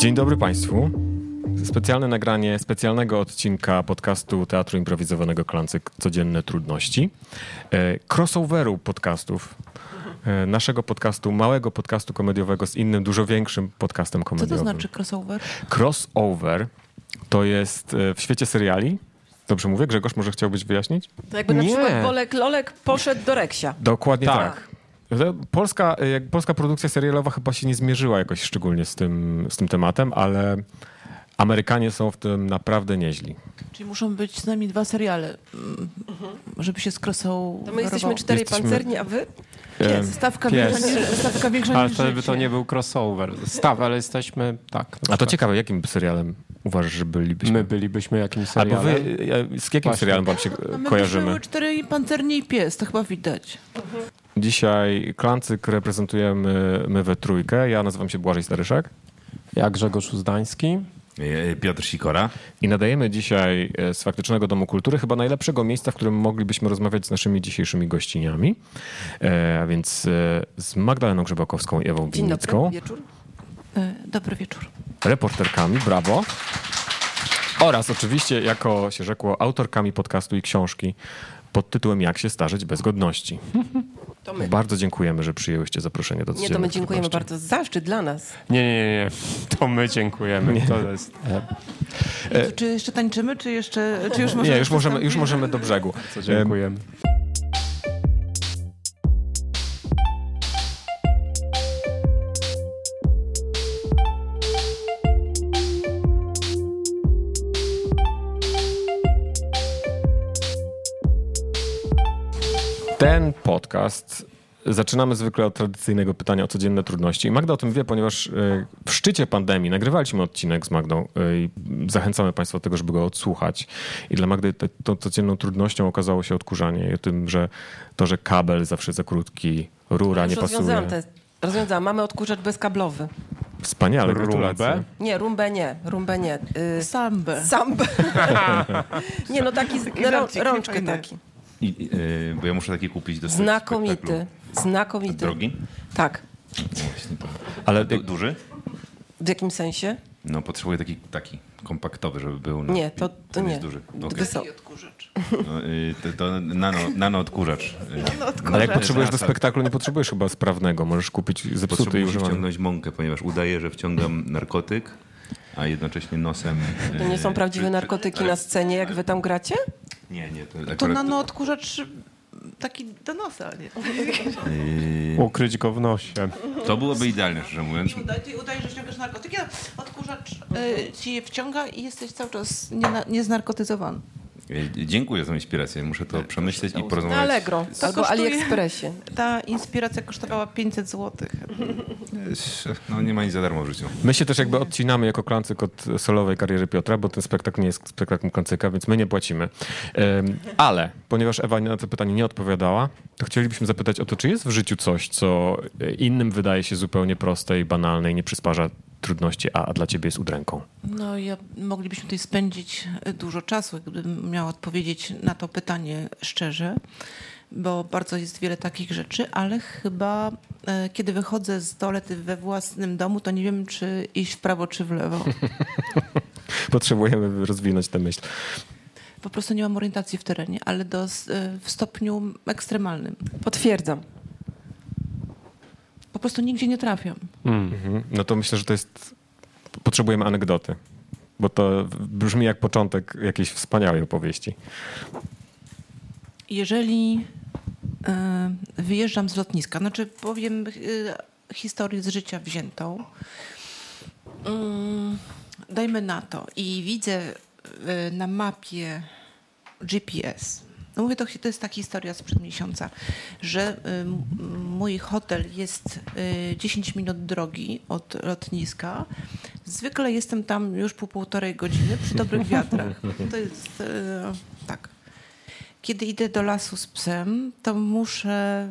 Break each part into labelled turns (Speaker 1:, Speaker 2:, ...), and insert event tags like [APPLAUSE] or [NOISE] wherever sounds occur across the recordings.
Speaker 1: Dzień dobry Państwu. Specjalne nagranie specjalnego odcinka podcastu Teatru Improwizowanego Klancyk Codzienne Trudności. E, Crossoveru podcastów. E, Naszego podcastu, małego podcastu komediowego z innym, dużo większym podcastem
Speaker 2: Co to
Speaker 1: komediowym.
Speaker 2: znaczy crossover?
Speaker 1: Crossover to jest e, w świecie seriali. Dobrze mówię? Grzegorz, może chciałbyś wyjaśnić?
Speaker 2: To jakby na
Speaker 1: Nie.
Speaker 2: przykład Bolek Lolek poszedł do Reksia.
Speaker 1: Dokładnie tak.
Speaker 2: Tak.
Speaker 1: To Polska, y, jak polska produkcja serialowa chyba się nie zmierzyła jakoś szczególnie z tym, z tym tematem, ale Amerykanie są w tym naprawdę nieźli.
Speaker 2: Czyli muszą być z nami dwa seriale, mm, żeby się skrosał.
Speaker 3: To my jesteśmy cztery
Speaker 1: Jesteśmy-
Speaker 3: pancerni, a wy?
Speaker 1: E,
Speaker 2: Pies. Stawka
Speaker 1: Pies.
Speaker 2: większa niż, stawka większa
Speaker 4: Ale
Speaker 2: niż
Speaker 4: to by
Speaker 2: życie.
Speaker 4: to nie był crossover. Staw, ale jesteśmy, tak.
Speaker 1: A to ciekawe, jakim serialem uważasz, że bylibyśmy?
Speaker 4: My bylibyśmy jakimś
Speaker 1: Albo
Speaker 4: serialem.
Speaker 1: wy, e, z jakim
Speaker 4: Właśnie.
Speaker 1: serialem wam się
Speaker 2: No,
Speaker 1: e,
Speaker 2: my
Speaker 1: kojarzymy?
Speaker 2: byśmy cztery i pancerni i pies, to chyba widać.
Speaker 1: Dzisiaj Klancyk reprezentujemy my we trójkę. Ja nazywam się Błażej Staryszak.
Speaker 4: Ja Grzegorz Uzdański.
Speaker 5: E, Piotr Sikora.
Speaker 1: I nadajemy dzisiaj e, z Faktycznego Domu Kultury chyba najlepszego miejsca, w którym moglibyśmy rozmawiać z naszymi dzisiejszym gościniami, E, a więc e, z Magdaleną Grzebakowską i Ewą
Speaker 3: Dzień dobry,
Speaker 1: Winnicką,
Speaker 3: wieczór.
Speaker 2: E, Dobry wieczór.
Speaker 1: reporterkami, brawo, oraz oczywiście, jako się rzekło, autorkami podcastu i książki pod tytułem Jak się starzeć bez godności.
Speaker 3: [LAUGHS] To my.
Speaker 1: Bardzo dziękujemy, że przyjęłyście zaproszenie do
Speaker 3: Nie, to my
Speaker 1: Codziennych
Speaker 3: dziękujemy
Speaker 1: Trudności.
Speaker 3: bardzo. Zaszczyt dla nas.
Speaker 4: Nie, nie, nie, nie. To my dziękujemy.
Speaker 1: Nie.
Speaker 4: To jest, e,
Speaker 2: To czy jeszcze tańczymy, czy jeszcze. Czy już
Speaker 1: Nie, już możemy, już możemy do brzegu. E,
Speaker 4: to dziękujemy.
Speaker 1: Ten podcast zaczynamy zwykle od tradycyjnego pytania o codzienne trudności. I Magda o tym wie, ponieważ e, w szczycie pandemii nagrywaliśmy odcinek z Magdą e, i zachęcamy Państwa do tego, żeby go odsłuchać. I dla Magdy te- tą codzienną trudnością okazało się odkurzanie i o tym, że to, że kabel zawsze za krótki, rura nie
Speaker 3: Już
Speaker 1: pasuje.
Speaker 3: rozwiązałam test. Rozwiązałam. Mamy odkurzacz bezkablowy.
Speaker 1: Wspaniale,
Speaker 4: Rumbę.
Speaker 1: gratulacje.
Speaker 3: Nie, rumbę nie, rumbę nie.
Speaker 2: [LAUGHS]
Speaker 3: Yy,
Speaker 2: Sambę.
Speaker 3: Sambę. [LAUGHS] nie, no taki, z- no, rą,
Speaker 2: żarcik
Speaker 3: rączkę
Speaker 2: niefajny.
Speaker 3: taki.
Speaker 5: I, e, bo ja muszę taki kupić do swojego
Speaker 3: Znakomity.
Speaker 5: spektaklu.
Speaker 3: Znakomity.
Speaker 5: Drogi?
Speaker 3: Tak.
Speaker 5: Właśnie to.
Speaker 1: Ale
Speaker 5: Du, duży?
Speaker 3: W jakim sensie?
Speaker 5: No potrzebuję taki, taki kompaktowy, żeby był. No,
Speaker 3: Nie, to, to
Speaker 5: Ten
Speaker 3: nie.
Speaker 5: jest duży.
Speaker 3: Gdy
Speaker 5: Okej.
Speaker 3: są-
Speaker 5: No, e, to, to nano, nano
Speaker 3: [LAUGHS]
Speaker 5: odkurzacz.
Speaker 1: Ale jak potrzebujesz do spektaklu, nie potrzebujesz chyba sprawnego. Możesz kupić zepsuty i
Speaker 5: Potrzebuję
Speaker 1: używany.
Speaker 5: wciągnąć mąkę, ponieważ udaję, że wciągam narkotyk, a jednocześnie nosem... e,
Speaker 3: To nie są
Speaker 5: czy-
Speaker 3: prawdziwe
Speaker 5: czy-
Speaker 3: narkotyki
Speaker 5: ale-
Speaker 3: na scenie, jak wy tam gracie?
Speaker 5: Nie, nie. To,
Speaker 2: To
Speaker 5: akurat-
Speaker 2: nanoodkurzacz taki do nosa, nie?
Speaker 4: Ukryć go w nosie.
Speaker 5: To byłoby idealne, szczerze mówiąc.
Speaker 2: Udajesz, że ściągasz narkotyki, a odkurzacz y, no, ci je wciąga i jesteś cały czas nie, na- niznarkotyzowany.
Speaker 5: E, Dziękuję za inspirację. Muszę Tak, to przemyśleć i
Speaker 3: Na
Speaker 5: porozmawiać.
Speaker 3: Allegro
Speaker 2: To
Speaker 3: albo
Speaker 2: kosztuje-
Speaker 3: AliExpressie.
Speaker 2: Ta inspiracja kosztowała 500 zł.
Speaker 5: No nie ma nic za darmo w życiu.
Speaker 1: My się też jakby odcinamy jako klancyk od solowej kariery Piotra, bo ten spektakl nie jest spektaklem klancyka, więc my nie płacimy. Em, ale ponieważ Ewa na to pytanie nie odpowiadała, to chcielibyśmy zapytać o to, czy jest w życiu coś, co innym wydaje się zupełnie proste i banalne i nie przysparza trudności, a, a dla ciebie jest udręką.
Speaker 2: No ja moglibyśmy tutaj spędzić e, dużo czasu, gdybym miała odpowiedzieć na to pytanie szczerze, bo bardzo jest wiele takich rzeczy, ale chyba e, kiedy wychodzę z toalety we własnym domu, to nie wiem, czy iść w prawo, czy w [LAUGHS] lewo.
Speaker 1: Potrzebujemy rozwinąć tę myśl.
Speaker 2: Po prostu nie mam orientacji w terenie, ale do, s- e, w stopniu ekstremalnym.
Speaker 3: Potwierdzam.
Speaker 2: Po prostu nigdzie nie trafiam.
Speaker 1: Mhm. No to myślę, że to jest... Potrzebujemy anegdoty, bo to brzmi jak początek jakiejś wspaniałej opowieści.
Speaker 2: Jeżeli e, wyjeżdżam z lotniska, znaczy powiem e, historię z życia wziętą. Mm, Dajmy na to. I widzę e, na mapie GPS. No mówię, to, hi- to jest ta historia sprzed miesiąca, że y, m- mój hotel jest y, 10 minut drogi od lotniska. Zwykle jestem tam już po półtorej godziny przy dobrych wiatrach. To jest y, tak. Kiedy idę do lasu z psem, to muszę,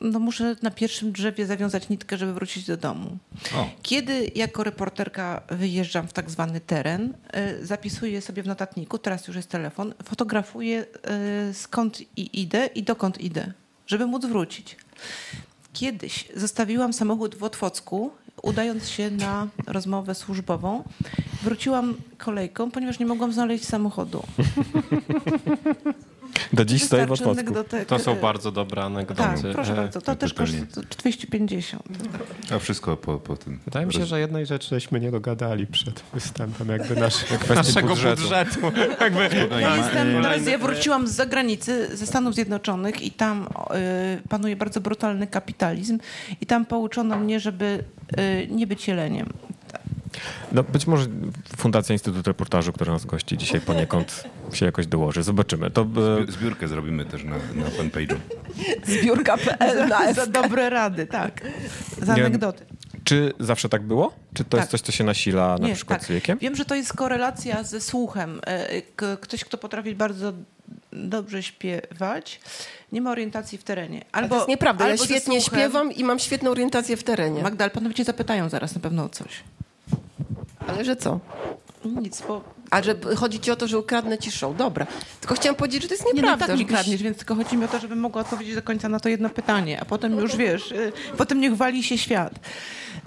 Speaker 2: no muszę na pierwszym drzewie zawiązać nitkę, żeby wrócić do domu.
Speaker 5: O.
Speaker 2: Kiedy jako reporterka wyjeżdżam w tak zwany teren, y, zapisuję sobie w notatniku, teraz już jest telefon, fotografuję y, skąd i idę i dokąd idę, żeby móc wrócić. Kiedyś zostawiłam samochód w Otwocku, udając się na rozmowę służbową, wróciłam kolejką, ponieważ nie mogłam znaleźć samochodu.
Speaker 1: Do dziś stoję w
Speaker 2: Wystarczy
Speaker 1: odpoczku.
Speaker 2: anegdotek-
Speaker 4: To są bardzo dobre anegdoty.
Speaker 2: Tak, proszę
Speaker 4: E,
Speaker 2: bardzo. To
Speaker 5: to
Speaker 2: też
Speaker 5: pewnie.
Speaker 2: kosztuje 250.
Speaker 5: A wszystko po, po tym.
Speaker 4: Wydaje mi się, że jednej rzeczy żeśmy nie dogadali przed występem jakby naszego,
Speaker 1: naszego budżetu.
Speaker 2: Ja
Speaker 4: e,
Speaker 2: jestem, teraz ja wróciłam z zagranicy, ze Stanów Zjednoczonych i tam y, panuje bardzo brutalny kapitalizm i tam pouczono mnie, żeby y, nie być jeleniem.
Speaker 1: No, być może Fundacja Instytut Reportażu, która nas gości dzisiaj poniekąd się jakoś dołoży. Zobaczymy. To, e,
Speaker 5: Zbiórkę zrobimy też na, na fanpage'u.
Speaker 3: Zbiórka.pl E, na
Speaker 2: Za dobre rady, tak. Za
Speaker 1: Nie wiem,
Speaker 2: anegdoty.
Speaker 1: czy zawsze tak było? Czy to
Speaker 2: Tak.
Speaker 1: jest coś, co się nasila na
Speaker 2: Nie,
Speaker 1: przykład
Speaker 2: tak.
Speaker 1: z wiekiem?
Speaker 2: Wiem, że to jest korelacja ze słuchem. E, k- Ktoś, kto potrafi bardzo dobrze śpiewać, nie ma orientacji w terenie. Albo,
Speaker 3: Albo, to jest nieprawda, ja
Speaker 2: albo ze
Speaker 3: świetnie
Speaker 2: słuchem.
Speaker 3: śpiewam i mam świetną orientację w terenie.
Speaker 2: Magdal, panowie cię zapytają zaraz na pewno o coś.
Speaker 3: Ale że co?
Speaker 2: Nic, bo
Speaker 3: A że b- chodzi ci o to, że ukradnę ci show. Dobra. Tylko chciałam powiedzieć, że to jest
Speaker 2: Nie, no
Speaker 3: nieprawda.
Speaker 2: tak mi
Speaker 3: żebyś-
Speaker 2: kradniesz, więc tylko chodzi mi o to, żebym mogła odpowiedzieć do końca na to jedno pytanie, a potem już wiesz, y, potem niech wali się świat.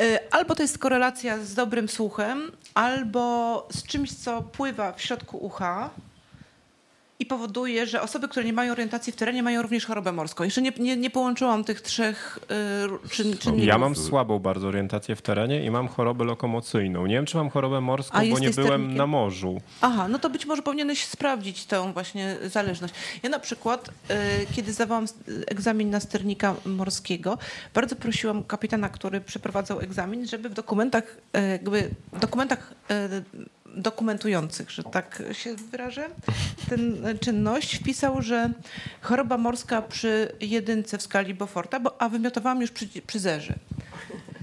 Speaker 2: Y, Albo to jest korelacja z dobrym słuchem, albo z czymś, co pływa w środku ucha i powoduje, że osoby, które nie mają orientacji w terenie, mają również chorobę morską. Jeszcze nie, nie, nie połączyłam tych trzech y, czyn, czynników.
Speaker 4: Ja mam słabą bardzo orientację w terenie i mam chorobę lokomocyjną. Nie wiem, czy mam chorobę morską,
Speaker 2: A
Speaker 4: bo nie
Speaker 2: jesteś
Speaker 4: byłem
Speaker 2: termikiem?
Speaker 4: na morzu.
Speaker 2: Aha, no to być może powinieneś sprawdzić tę właśnie zależność. Ja na przykład, y, kiedy zdawałam s- egzamin na sternika morskiego, bardzo prosiłam kapitana, który przeprowadzał egzamin, żeby w dokumentach, y, jakby w dokumentach y, dokumentujących, że tak się wyrażę, tę czynność wpisał, że choroba morska przy jedynce w skali Beauforta, bo, a wymiotowałam już przy, przy zerze.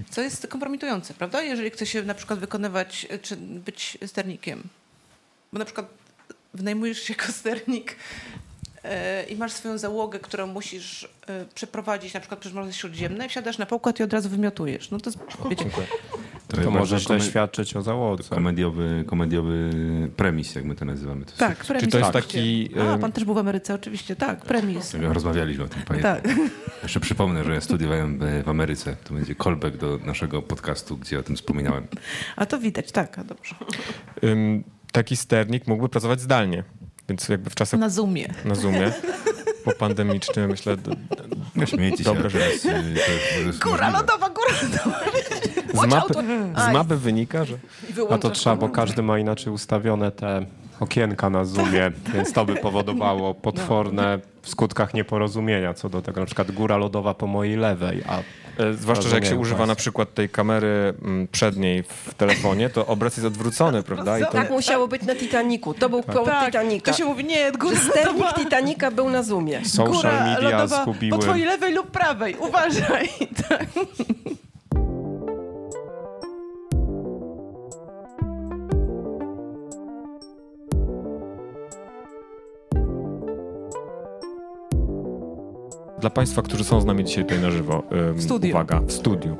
Speaker 2: Co jest kompromitujące, prawda? Jeżeli chce się na przykład wykonywać, y, czy być sternikiem. Bo na przykład wynajmujesz się [LAUGHS] jako sternik e, i masz swoją załogę, którą musisz e, przeprowadzić na przykład przez Morze Śródziemne, wsiadasz na pokład i od razu wymiotujesz. No to jest, wiecie,
Speaker 5: To,
Speaker 4: To
Speaker 5: jest
Speaker 4: może
Speaker 5: bardzo
Speaker 4: źle świadczyć o załodze.
Speaker 5: tak, komediowy, komediowy premis, jak my to nazywamy. To jest-
Speaker 2: tak, premis.
Speaker 1: Czy to jest
Speaker 2: oczywiście.
Speaker 1: taki... e,
Speaker 2: A,
Speaker 1: em,
Speaker 2: pan też był w Ameryce, oczywiście, tak, premis.
Speaker 5: Rozmawialiśmy o tym, panie.
Speaker 2: Tak.
Speaker 5: Jeszcze przypomnę, że ja studiowałem e, w Ameryce. To będzie callback do naszego podcastu, gdzie o tym wspominałem.
Speaker 2: A to widać, tak, a dobrze.
Speaker 1: Ym, taki sternik mógłby pracować zdalnie. Więc jakby w czasach
Speaker 2: Na Zoomie.
Speaker 1: na Zoomie po pandemicznym myślę d-
Speaker 5: No śmiejecie się,
Speaker 1: Dobra,
Speaker 5: a teraz... e, to- to jest
Speaker 2: Góra
Speaker 5: możliwe.
Speaker 2: lodowa, góra lodowa.
Speaker 1: z mapy,
Speaker 3: auto-
Speaker 1: z
Speaker 3: Aj.
Speaker 1: mapy wynika, że
Speaker 3: I
Speaker 4: A
Speaker 3: wyłączasz
Speaker 4: to trzeba, bo
Speaker 3: komendę.
Speaker 4: każdy ma inaczej ustawione te okienka na Zoomie,
Speaker 3: Tak,
Speaker 4: więc to by
Speaker 3: No.
Speaker 4: powodowało potworne w skutkach nieporozumienia co do tego. Na przykład góra lodowa po mojej lewej, a
Speaker 1: e, zwłaszcza, że jak się
Speaker 4: Rozumiem
Speaker 1: używa
Speaker 4: was.
Speaker 1: na przykład tej kamery mm, przedniej w telefonie, to obraz jest odwrócony, prawda? I to,
Speaker 3: Tak musiało być na Titaniku. To był koło Titanika.
Speaker 2: Tak, to
Speaker 1: Tak.
Speaker 2: się mówi, nie, góra
Speaker 3: Że sternik
Speaker 2: lodowa.
Speaker 3: Titanika był na Zoomie.
Speaker 4: social
Speaker 2: Góra
Speaker 4: media
Speaker 2: lodowa po
Speaker 4: zgubiły...
Speaker 2: twojej lewej lub prawej, uważaj. Tak.
Speaker 1: Dla Państwa, którzy są z nami dzisiaj tutaj na żywo, ym,
Speaker 2: studiu.
Speaker 1: uwaga, w studiu,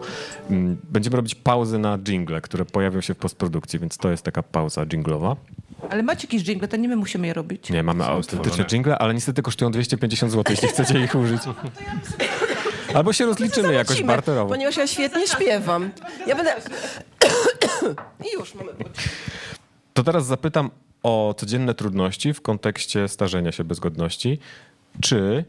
Speaker 1: ym, będziemy robić pauzy na jingle, które pojawią się w postprodukcji, więc to jest taka pauza jinglowa.
Speaker 2: Ale macie jakiś jingle, to nie my musimy je robić.
Speaker 1: Nie, mamy autentyczne
Speaker 5: stworzone.
Speaker 1: jingle, ale niestety kosztują 250 zł, jeśli chcecie ich użyć. Albo się rozliczymy jakoś
Speaker 3: Lecimy,
Speaker 1: barterowo.
Speaker 3: Ponieważ ja świetnie śpiewam. Ja będę... [COUGHS] I już mamy...
Speaker 1: To teraz zapytam o codzienne trudności w kontekście starzenia się bezgodności. Czy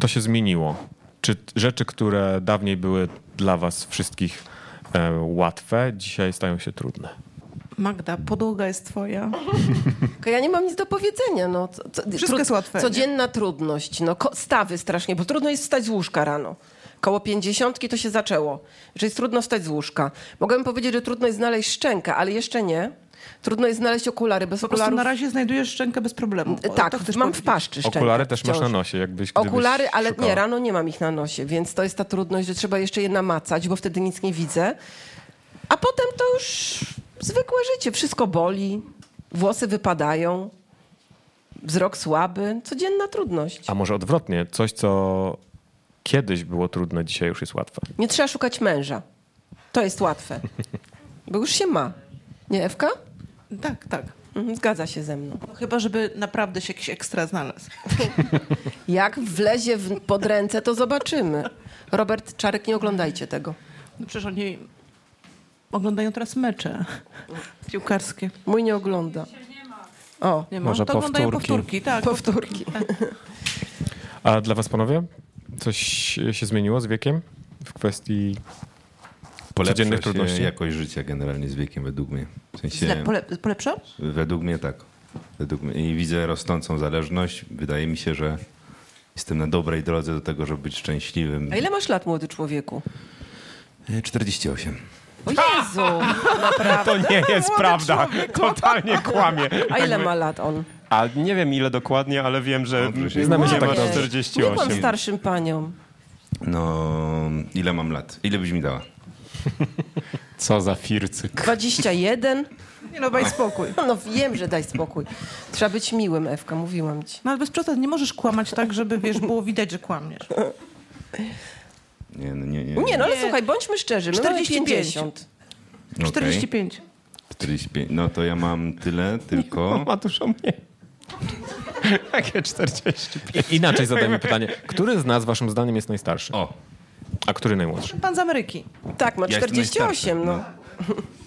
Speaker 1: to się zmieniło? Czy t- rzeczy, które dawniej były dla was wszystkich e, łatwe, dzisiaj stają się trudne?
Speaker 2: Magda, podłoga jest twoja.
Speaker 3: Tylko Ja nie mam nic do powiedzenia. No, co, co,
Speaker 2: Wszystko jest łatwe, nie?
Speaker 3: Codzienna trudność. No, ko- stawy strasznie, bo trudno jest wstać z łóżka rano. Koło pięćdziesiątki to się zaczęło, że jest trudno wstać z łóżka. Mogłabym powiedzieć, że trudno jest znaleźć szczękę, ale jeszcze nie. Trudno jest znaleźć okulary bez
Speaker 2: Po prostu
Speaker 3: okularów.
Speaker 2: na razie znajdujesz szczękę bez problemu.
Speaker 3: Y,
Speaker 2: O,
Speaker 3: Tak,
Speaker 2: to
Speaker 3: mam
Speaker 2: chcesz
Speaker 3: w
Speaker 2: powiedzieć.
Speaker 3: paszczy szczękę.
Speaker 1: Okulary też masz na
Speaker 3: wciąż.
Speaker 1: nosie, jakbyś gdybyś
Speaker 3: Okulary, ale
Speaker 1: szukała.
Speaker 3: nie, rano nie mam ich na nosie, więc to jest ta trudność, że trzeba jeszcze je namacać, bo wtedy nic nie widzę. A potem to już zwykłe życie. Wszystko boli, włosy wypadają, wzrok słaby, codzienna trudność.
Speaker 1: A może odwrotnie, coś, co kiedyś było trudne, dzisiaj już jest łatwe.
Speaker 3: Nie trzeba szukać męża. To jest
Speaker 1: [LAUGHS]
Speaker 3: łatwe, bo już się ma. Nie, Ewka?
Speaker 2: Tak, tak.
Speaker 3: Mhm, Zgadza się ze mną.
Speaker 2: No, chyba, żeby naprawdę się jakiś ekstra znalazł. [LAUGHS]
Speaker 3: Jak wlezie w, pod ręce, to zobaczymy. Robert Czarek, nie oglądajcie tego.
Speaker 2: No przecież oni oglądają teraz [LAUGHS] mecze piłkarskie.
Speaker 3: Mój nie ogląda. O,
Speaker 2: Nie ma.
Speaker 4: Może
Speaker 2: to oglądają
Speaker 4: powtórki.
Speaker 2: powtórki, tak.
Speaker 3: powtórki.
Speaker 1: A dla was, panowie, coś się zmieniło z wiekiem w kwestii...
Speaker 5: Polepsza
Speaker 1: Codziennych
Speaker 5: się
Speaker 1: trudności.
Speaker 5: jakość życia generalnie z wiekiem według mnie. W sensie,
Speaker 2: Zle, pole, polepsza?
Speaker 5: Według mnie tak. Według mnie. I widzę rosnącą zależność. Wydaje mi się, że jestem na dobrej drodze do tego, żeby być szczęśliwym.
Speaker 3: A ile masz lat, młody człowieku?
Speaker 5: E, 48.
Speaker 3: O Jezu, naprawdę?
Speaker 4: To nie jest
Speaker 3: Młody
Speaker 4: prawda.
Speaker 3: człowiek.
Speaker 4: Totalnie kłamie.
Speaker 3: A ile ma lat on?
Speaker 4: A nie wiem ile dokładnie, ale wiem, że
Speaker 5: Mądry się
Speaker 4: nie
Speaker 1: znamy się
Speaker 4: masz
Speaker 1: tak
Speaker 3: Ojej,
Speaker 1: dobrze.
Speaker 4: 48.
Speaker 3: Nie pan starszym paniom.
Speaker 5: No, ile mam lat? Ile byś mi dała?
Speaker 4: Co za
Speaker 3: No.
Speaker 4: fircyk.
Speaker 3: 21?
Speaker 2: Nie no, daj spokój.
Speaker 3: No wiem, że daj spokój. Trzeba być miłym, Ewka, mówiłam ci.
Speaker 2: No ale bez przesady nie możesz kłamać tak, żeby wiesz, było widać, że kłamiesz.
Speaker 5: Nie, no, nie, nie.
Speaker 3: Nie, no ale
Speaker 2: Nie.
Speaker 3: słuchaj, bądźmy szczerzy. no, My
Speaker 2: 45.
Speaker 3: 45. 50.
Speaker 5: Okej.
Speaker 2: 45.
Speaker 5: 45. No to ja mam tyle,
Speaker 3: [LAUGHS]
Speaker 5: tylko.
Speaker 4: Ma dużo mniej. [LAUGHS] Jakie 45.
Speaker 1: Inaczej [LAUGHS] zadajmy pytanie. Który z nas, waszym zdaniem, jest najstarszy?
Speaker 5: O,
Speaker 1: A który najmłodszy?
Speaker 2: Pan z Ameryki.
Speaker 4: No.
Speaker 3: Tak, ma
Speaker 5: ja jestem
Speaker 3: 48, no.
Speaker 5: najstarszy, no.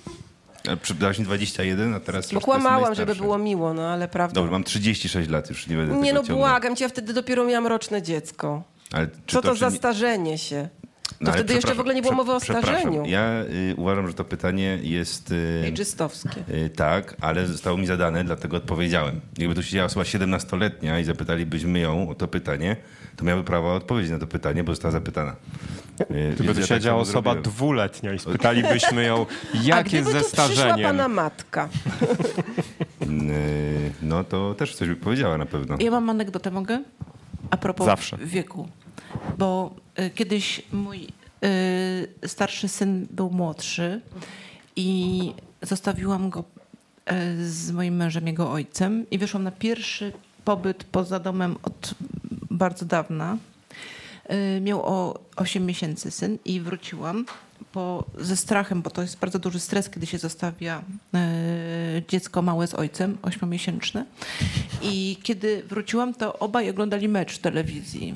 Speaker 5: A przy- Dałaś mi 21, a teraz.
Speaker 3: Bo
Speaker 5: już to
Speaker 3: kłamałam,
Speaker 5: no. jest
Speaker 3: żeby
Speaker 5: najstarsze.
Speaker 3: było miło, no ale prawda.
Speaker 5: Dobrze, mam 36 lat, już nie będę
Speaker 3: nie
Speaker 5: tego
Speaker 3: no,
Speaker 5: ciągnął.
Speaker 3: błagam cię, ja wtedy dopiero miałam roczne dziecko.
Speaker 5: Ale czy
Speaker 3: Co to,
Speaker 5: czy
Speaker 3: za
Speaker 5: nie-
Speaker 3: starzenie się?
Speaker 5: No,
Speaker 3: To
Speaker 5: ale
Speaker 3: wtedy jeszcze
Speaker 5: przepraszam,
Speaker 3: w ogóle nie było
Speaker 5: prze-
Speaker 3: mowy o
Speaker 5: przepraszam.
Speaker 3: starzeniu.
Speaker 5: Ja y, uważam, że to pytanie jest. Y,
Speaker 3: Ejczystowskie.
Speaker 5: y, tak, ale zostało mi zadane, dlatego odpowiedziałem. Jakby tu siedziała osoba 17-letnia i zapytalibyśmy ją o to pytanie, to miałaby prawo odpowiedzieć na to pytanie, bo została zapytana. Y, więc
Speaker 4: Gdyby tu
Speaker 5: ja tak
Speaker 4: siedziała
Speaker 5: samo
Speaker 4: osoba
Speaker 5: zrobiłem.
Speaker 4: dwuletnia i spytalibyśmy ją,
Speaker 3: [LAUGHS] A
Speaker 4: jak jest
Speaker 3: gdyby
Speaker 4: ze
Speaker 3: tu przyszła
Speaker 4: starzeniem.
Speaker 3: pana matka?
Speaker 5: Y, No to też coś by powiedziała na pewno.
Speaker 2: Ja mam anegdotę, mogę? A propos
Speaker 1: Zawsze.
Speaker 2: wieku. Bo y, kiedyś mój y, starszy syn był młodszy i zostawiłam go y, z moim mężem, jego ojcem i wyszłam na pierwszy pobyt poza domem od bardzo dawna. Y, Miał o 8 miesięcy syn i wróciłam po, ze strachem, bo to jest bardzo duży stres, kiedy się zostawia y, dziecko małe z ojcem, ośmiomiesięczne. I kiedy wróciłam, to obaj oglądali mecz w telewizji.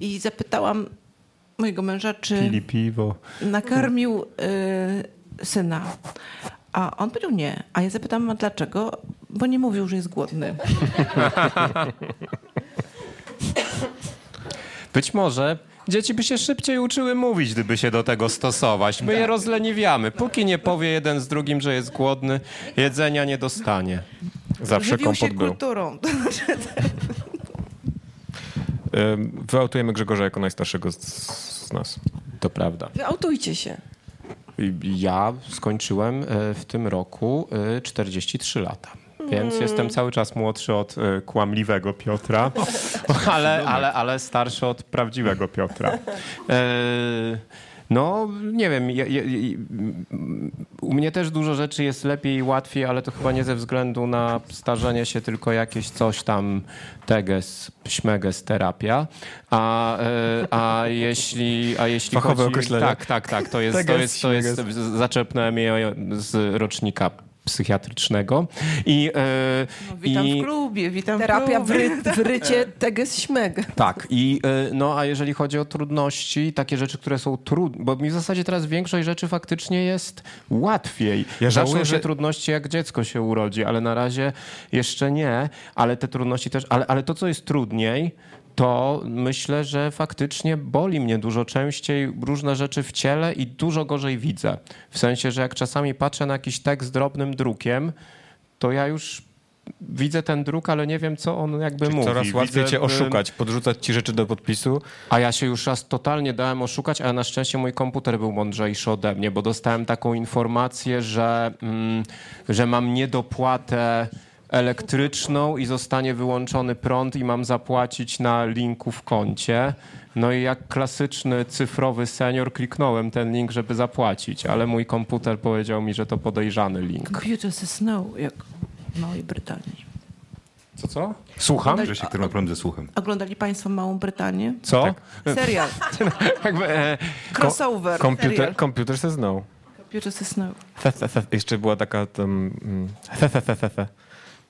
Speaker 2: I zapytałam mojego męża, czy
Speaker 4: Pili piwo.
Speaker 2: nakarmił y, syna. A on powiedział nie. A ja zapytałam, a dlaczego? Bo nie mówił, że jest głodny.
Speaker 4: Być może dzieci by się szybciej uczyły mówić, gdyby się do tego stosować. My je rozleniwiamy. Póki nie powie jeden z drugim, że jest głodny, jedzenia nie dostanie.
Speaker 1: Zawsze
Speaker 2: Żywił się
Speaker 1: kompot był.
Speaker 2: kulturą.
Speaker 1: Ym, Wyautujemy Grzegorza jako najstarszego z, z nas. To prawda.
Speaker 3: Wyautujcie się.
Speaker 4: Ja skończyłem e, w tym roku e, 43 lata. Więc jestem cały czas młodszy od e, kłamliwego Piotra, [LAUGHS] ale, ale, ale starszy od prawdziwego Piotra. E, No, nie wiem. ja- ja- i- m, U mnie też dużo rzeczy jest lepiej i łatwiej, ale to chyba nie ze względu na starzenie się, tylko jakieś coś tam teges, śmeges, terapia. A, e, a jeśli. A jeśli
Speaker 1: Fachowe
Speaker 4: chodzi,
Speaker 1: określenie.
Speaker 4: Tak, tak, tak. To jest jest, to
Speaker 1: Teges,
Speaker 4: jest, to jest
Speaker 1: śmiges.
Speaker 4: z- zaczepnąłem je z rocznika psychiatrycznego i, e,
Speaker 2: No, witam
Speaker 4: i
Speaker 2: w klubie, witam
Speaker 3: Terapia
Speaker 2: w
Speaker 3: w,
Speaker 2: klubie.
Speaker 3: ry- w rycie teges śmeg.
Speaker 4: tak i e, no a jeżeli chodzi o trudności takie rzeczy które są trudne bo mi w zasadzie teraz większość rzeczy faktycznie jest łatwiej
Speaker 1: Ja
Speaker 4: zaczną
Speaker 1: żałuję,
Speaker 4: się
Speaker 1: że-
Speaker 4: trudności jak dziecko się urodzi ale na razie jeszcze nie ale te trudności też ale, ale to co jest trudniej to myślę, że faktycznie boli mnie dużo częściej różne rzeczy w ciele i dużo gorzej widzę. W sensie, że jak czasami patrzę na jakiś tekst z drobnym drukiem, to ja już widzę ten druk, ale nie wiem, co on jakby
Speaker 1: Czyli
Speaker 4: mówi.
Speaker 1: coraz łatwiej
Speaker 4: Widzę, e,
Speaker 1: cię
Speaker 4: ym,
Speaker 1: oszukać, podrzucać ci rzeczy do podpisu.
Speaker 4: A ja się już raz totalnie dałem oszukać, ale na szczęście mój komputer był mądrzejszy ode mnie, bo dostałem taką informację, że, mm, że mam niedopłatę elektryczną i zostanie wyłączony prąd i mam zapłacić na linku w koncie. No i jak klasyczny cyfrowy senior kliknąłem ten link, żeby zapłacić, ale mój komputer powiedział mi, że to podejrzany link.
Speaker 2: Computers is no, jak w Małej Brytanii.
Speaker 4: Co, co? Słucham?
Speaker 5: Że się, który ma problem ze słuchem.
Speaker 2: Oglądali Państwo Małą Brytanię?
Speaker 4: Co?
Speaker 2: Serial.
Speaker 4: Jakby, e,
Speaker 2: Crossover.
Speaker 1: Komputer,
Speaker 2: Serial.
Speaker 1: komputer se znał.
Speaker 2: Computers is no.
Speaker 1: Fe, fe, fe. Jeszcze była taka tam mm, fe, fe, fe, fe, fe.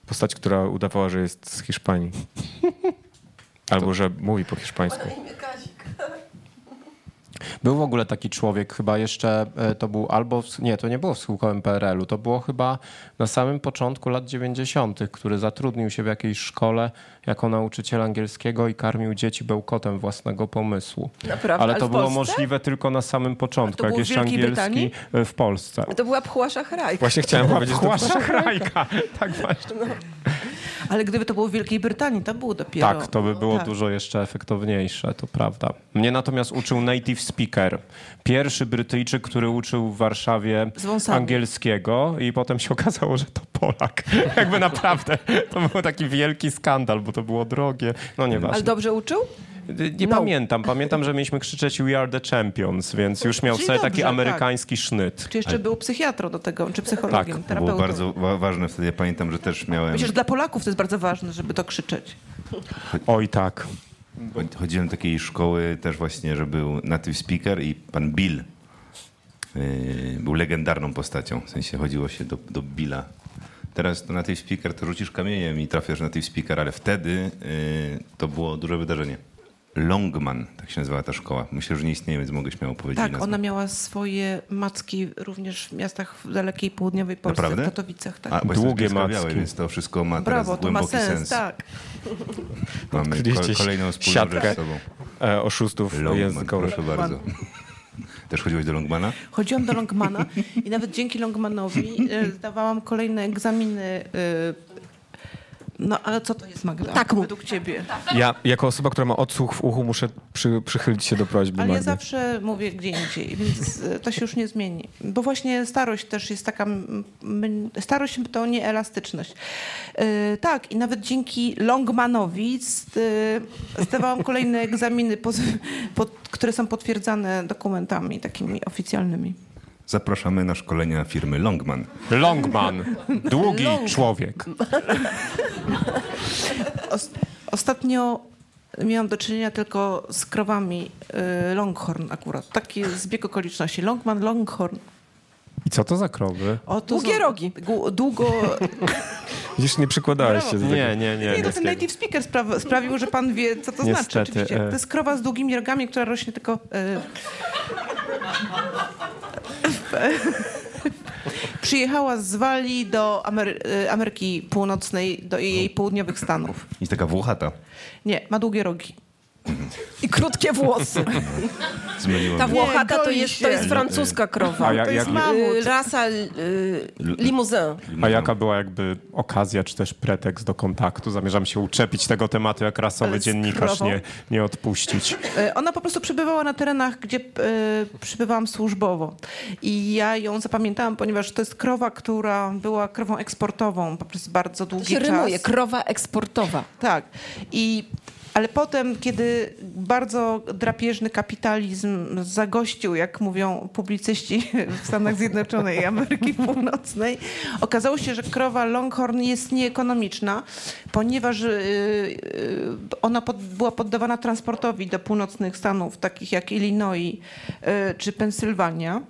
Speaker 1: postać, która udawała, że jest z
Speaker 4: [LAUGHS]
Speaker 1: Hiszpanii. Albo że mówi po hiszpańsku.
Speaker 4: Był w ogóle taki człowiek, chyba jeszcze e, to był albo, w, nie, to nie było w schyłkowym PRL-u, to było chyba na samym początku lat 90., który zatrudnił się w jakiejś szkole jako nauczyciel angielskiego i karmił dzieci bełkotem własnego pomysłu.
Speaker 3: Naprawdę?
Speaker 4: Ale
Speaker 3: Ale
Speaker 4: to
Speaker 3: w
Speaker 4: było
Speaker 3: Polsce?
Speaker 4: możliwe tylko na samym początku, jak
Speaker 3: było w
Speaker 4: jeszcze
Speaker 3: Wielkiej
Speaker 4: angielski
Speaker 3: Brytanii?
Speaker 4: e, w Polsce.
Speaker 3: To była pchła szachrajka.
Speaker 1: Właśnie chciałem powiedzieć, że to
Speaker 4: Płaszcz krajka, tak właśnie.
Speaker 2: Ale gdyby to było w Wielkiej Brytanii, to było dopiero.
Speaker 4: Tak, to by było
Speaker 2: tak.
Speaker 4: dużo jeszcze efektowniejsze, to prawda. Mnie natomiast uczył native speaker. Pierwszy Brytyjczyk, który uczył w Warszawie
Speaker 2: Z wąsami.
Speaker 4: angielskiego i potem się [LAUGHS] okazało, że to Polak. [LAUGHS] Jakby naprawdę. To był taki wielki skandal, bo to było drogie. No
Speaker 3: Ale
Speaker 4: nieważne.
Speaker 3: dobrze uczył?
Speaker 2: Tak,
Speaker 4: Nie
Speaker 3: No.
Speaker 4: pamiętam. Pamiętam, że mieliśmy krzyczeć We are the champions, więc już miał
Speaker 2: Czyli
Speaker 4: sobie taki
Speaker 2: dobrze, tak.
Speaker 4: amerykański sznyt.
Speaker 2: Czy jeszcze był psychiatrą do tego, czy psychologiem,
Speaker 4: Tak,
Speaker 5: To było
Speaker 2: terapeutą?
Speaker 5: bardzo wa- ważne wtedy, ja pamiętam, że też miałem,
Speaker 2: Myślę, że dla Polaków to jest bardzo ważne, żeby to krzyczeć.
Speaker 4: Oj tak.
Speaker 5: chodziłem do takiej szkoły też właśnie, że był native speaker i pan Bill yy, był legendarną postacią, w sensie chodziło się do, do Billa. Teraz to native speaker to rzucisz kamieniem i trafiasz na native speaker, ale wtedy yy, to było duże wydarzenie. Longman, tak się nazywała ta szkoła. Myślę, że nie istnieje, więc mogę śmiało powiedzieć
Speaker 2: Tak,
Speaker 5: nazwę.
Speaker 2: ona miała swoje macki również w miastach w dalekiej południowej Polsce,
Speaker 5: Naprawdę?
Speaker 2: w Katowicach. Tak.
Speaker 5: A, bo jestem
Speaker 4: Długie
Speaker 5: Długie
Speaker 4: macki.
Speaker 5: więc to wszystko ma teraz
Speaker 2: Brawo, to ma
Speaker 5: głęboki
Speaker 2: sens,
Speaker 5: sens.
Speaker 2: tak.
Speaker 5: Mamy ko-
Speaker 1: Odkryliście
Speaker 5: kolejną wspólną
Speaker 1: siatkę.
Speaker 5: rzecz z sobą.
Speaker 1: e, oszustów
Speaker 5: Longman,
Speaker 1: językowych.
Speaker 5: proszę bardzo. [LAUGHS] Też chodziłeś do Longmana?
Speaker 2: Chodziłam do Longmana i nawet dzięki Longmanowi e, zdawałam kolejne egzaminy. e, No ale co to jest Magda?
Speaker 3: Tak mów.
Speaker 2: według ciebie.
Speaker 1: Ja, jako osoba, która ma odsłuch w uchu, muszę przy, przychylić się do prośby
Speaker 2: Ale ja
Speaker 1: Magdy.
Speaker 2: zawsze mówię gdzie indziej, więc e, to się już nie zmieni. Bo właśnie starość też jest taka. mm, mm, Starość to nie elastyczność. E, tak, i nawet dzięki Longmanowi st, e, zdawałam kolejne egzaminy, pod, pod, które są potwierdzane dokumentami takimi oficjalnymi.
Speaker 5: Zapraszamy na szkolenia firmy Longman.
Speaker 4: Longman. Długi człowiek.
Speaker 2: Os- ostatnio miałam do czynienia tylko z krowami y, Longhorn akurat. Taki zbieg okoliczności. Longman, Longhorn.
Speaker 4: I co to za krowy?
Speaker 2: O, to
Speaker 3: Długie
Speaker 2: są-
Speaker 3: rogi.
Speaker 2: gu- Długo...
Speaker 1: Widzisz, nie przykładałeś się do tego.
Speaker 4: Nie, nie, nie.
Speaker 2: Nie, to ten native speaker spra- sprawił, że pan wie, co to znaczy
Speaker 4: Niestety,
Speaker 2: oczywiście.
Speaker 4: e.
Speaker 2: To jest krowa z długimi rogami, która rośnie tylko... y, Przyjechała z Walii do Amery- y, Ameryki Północnej, do
Speaker 4: No.
Speaker 2: jej południowych stanów.
Speaker 5: Jest taka włochata.
Speaker 2: Nie, ma długie rogi.
Speaker 3: I krótkie
Speaker 4: [LAUGHS]
Speaker 3: włosy.
Speaker 5: Zmieniło
Speaker 3: Ta
Speaker 5: mnie.
Speaker 3: włochata to
Speaker 2: goi
Speaker 3: jest,
Speaker 2: się.
Speaker 3: to jest francuska krowa.
Speaker 4: A ja-
Speaker 2: To jest
Speaker 4: jak-
Speaker 2: mamut.
Speaker 3: Y, Rasa y, limuzyn.
Speaker 1: No.
Speaker 4: A jaka była jakby okazja, czy też pretekst do kontaktu? Zamierzam się uczepić tego tematu, jak rasowy
Speaker 2: Ale z
Speaker 4: dziennikarz
Speaker 2: krową?
Speaker 4: nie, nie odpuścić.
Speaker 2: E, Ona po prostu przebywała na terenach, gdzie e, przybywałam służbowo. I ja ją zapamiętałam, ponieważ to jest krowa, która była krową eksportową poprzez bardzo
Speaker 3: To
Speaker 2: długi
Speaker 3: się
Speaker 2: czas.
Speaker 3: rymuje. Krowa eksportowa.
Speaker 2: Tak. I, ale potem, kiedy bardzo drapieżny kapitalizm zagościł, jak mówią publicyści w Stanach Zjednoczonych i Ameryki Północnej, okazało się, że krowa Longhorn jest nieekonomiczna, ponieważ yy, yy, ona pod, była poddawana transportowi do północnych stanów, takich jak Illinois yy, czy Pensylwania.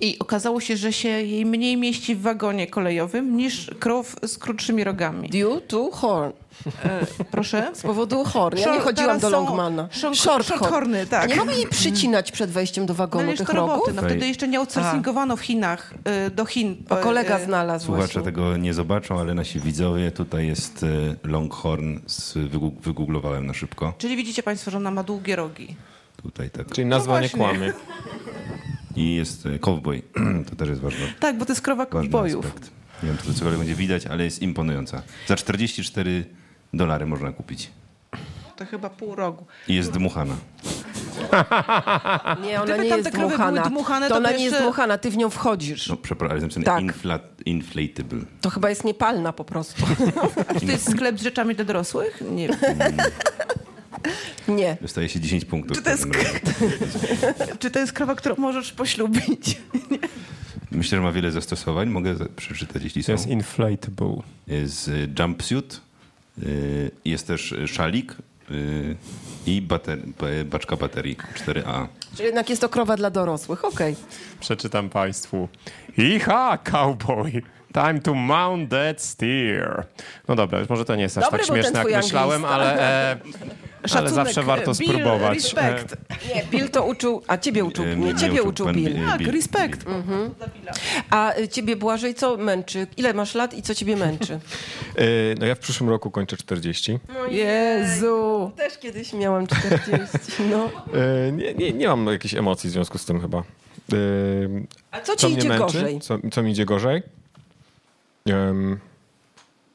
Speaker 2: I okazało się, że się jej mniej mieści w wagonie kolejowym niż krów z krótszymi rogami.
Speaker 3: Due to horn.
Speaker 2: Proszę?
Speaker 3: Z powodu horn. Ja
Speaker 2: Szor-
Speaker 3: nie chodziłam
Speaker 2: teraz
Speaker 3: do
Speaker 2: są
Speaker 3: Longmana.
Speaker 2: szonk-
Speaker 3: Shorthorn.
Speaker 2: shorthorny, tak.
Speaker 3: A Nie mogli przycinać przed wejściem do
Speaker 2: No, ale
Speaker 3: wagonu
Speaker 2: już
Speaker 3: tych
Speaker 2: to roboty.
Speaker 3: rogów?
Speaker 2: No, wtedy jeszcze nie outsourcingowano w Chinach y, do Chin.
Speaker 3: Bo kolega
Speaker 2: y,
Speaker 3: znalazł
Speaker 5: Słuchacze
Speaker 3: właśnie.
Speaker 5: tego nie zobaczą, ale nasi widzowie, tutaj jest e, Longhorn, z, wygu- wygooglowałem na szybko.
Speaker 2: Czyli widzicie Państwo, że ona ma długie rogi.
Speaker 5: Tutaj tak.
Speaker 1: Czyli nazwa
Speaker 2: No
Speaker 1: nie
Speaker 2: właśnie.
Speaker 1: kłamie.
Speaker 5: I jest e, cowboy, [CLEARS THROAT] to też jest ważne.
Speaker 2: Tak, bo to jest krowa
Speaker 5: ważny
Speaker 2: bojów.
Speaker 5: aspekt. Nie wiem, czy to cokolwiek będzie widać, ale jest imponująca. Za 44 dolary można kupić.
Speaker 2: To chyba pół rogu.
Speaker 5: I jest dmuchana.
Speaker 3: Nie, ona
Speaker 2: Gdyby
Speaker 3: nie
Speaker 2: tam
Speaker 3: jest
Speaker 2: te krowy były
Speaker 3: dmuchana.
Speaker 2: dmuchane,
Speaker 3: To
Speaker 2: to
Speaker 3: ona
Speaker 2: by
Speaker 3: nie jest
Speaker 2: jeszcze-
Speaker 3: dmuchana, ty w nią wchodzisz.
Speaker 5: No, przepraszam, ale jest napisane
Speaker 3: Tak.
Speaker 5: inflat, inflatable.
Speaker 3: To chyba jest niepalna po
Speaker 4: [LAUGHS]
Speaker 3: prostu.
Speaker 2: A to jest sklep z rzeczami dla dorosłych? Nie.
Speaker 3: [LAUGHS] Nie.
Speaker 5: Dostaje się 10 punktów.
Speaker 2: Czy to
Speaker 5: w
Speaker 2: jest-
Speaker 5: każdym razie.
Speaker 2: Czy to jest krowa, którą możesz poślubić?
Speaker 5: Myślę, że ma wiele zastosowań. Mogę za- przeczytać, jeśli
Speaker 4: To
Speaker 5: są.
Speaker 4: jest inflatable.
Speaker 5: Jest y, jumpsuit, y, jest też y, szalik y, i bater- ba- baczka baterii 4A.
Speaker 3: Czyli jednak jest to krowa dla dorosłych, okej.
Speaker 4: Przeczytam państwu. Iha, cowboy! Time to mount that steer. No dobra, już może to nie jest aż
Speaker 3: Dobry
Speaker 4: tak
Speaker 3: był ten
Speaker 4: śmieszne,
Speaker 3: twój
Speaker 4: jak myślałem,
Speaker 3: anglista.
Speaker 4: ale e, ale
Speaker 2: Szacunek,
Speaker 4: zawsze warto
Speaker 2: Bill,
Speaker 4: spróbować. E,
Speaker 2: Respekt.
Speaker 3: Nie, Bill to uczył, a ciebie uczył,
Speaker 5: E,
Speaker 3: nie
Speaker 5: mnie
Speaker 3: ciebie uczył
Speaker 5: pan
Speaker 3: Bill.
Speaker 5: Bi-
Speaker 2: Tak,
Speaker 5: Bill.
Speaker 2: respekt.
Speaker 3: A y, ciebie Błażej co męczy? Ile masz lat i co ciebie męczy?
Speaker 1: Yy, No ja w przyszłym roku kończę 40.
Speaker 3: Jezu! [LAUGHS] Też kiedyś miałam 40, no.
Speaker 1: Yy, Nie, nie, nie mam jakichś emocji w związku z tym chyba. Yy,
Speaker 3: A co ci idzie gorzej?
Speaker 1: Co, co mi idzie gorzej? Em,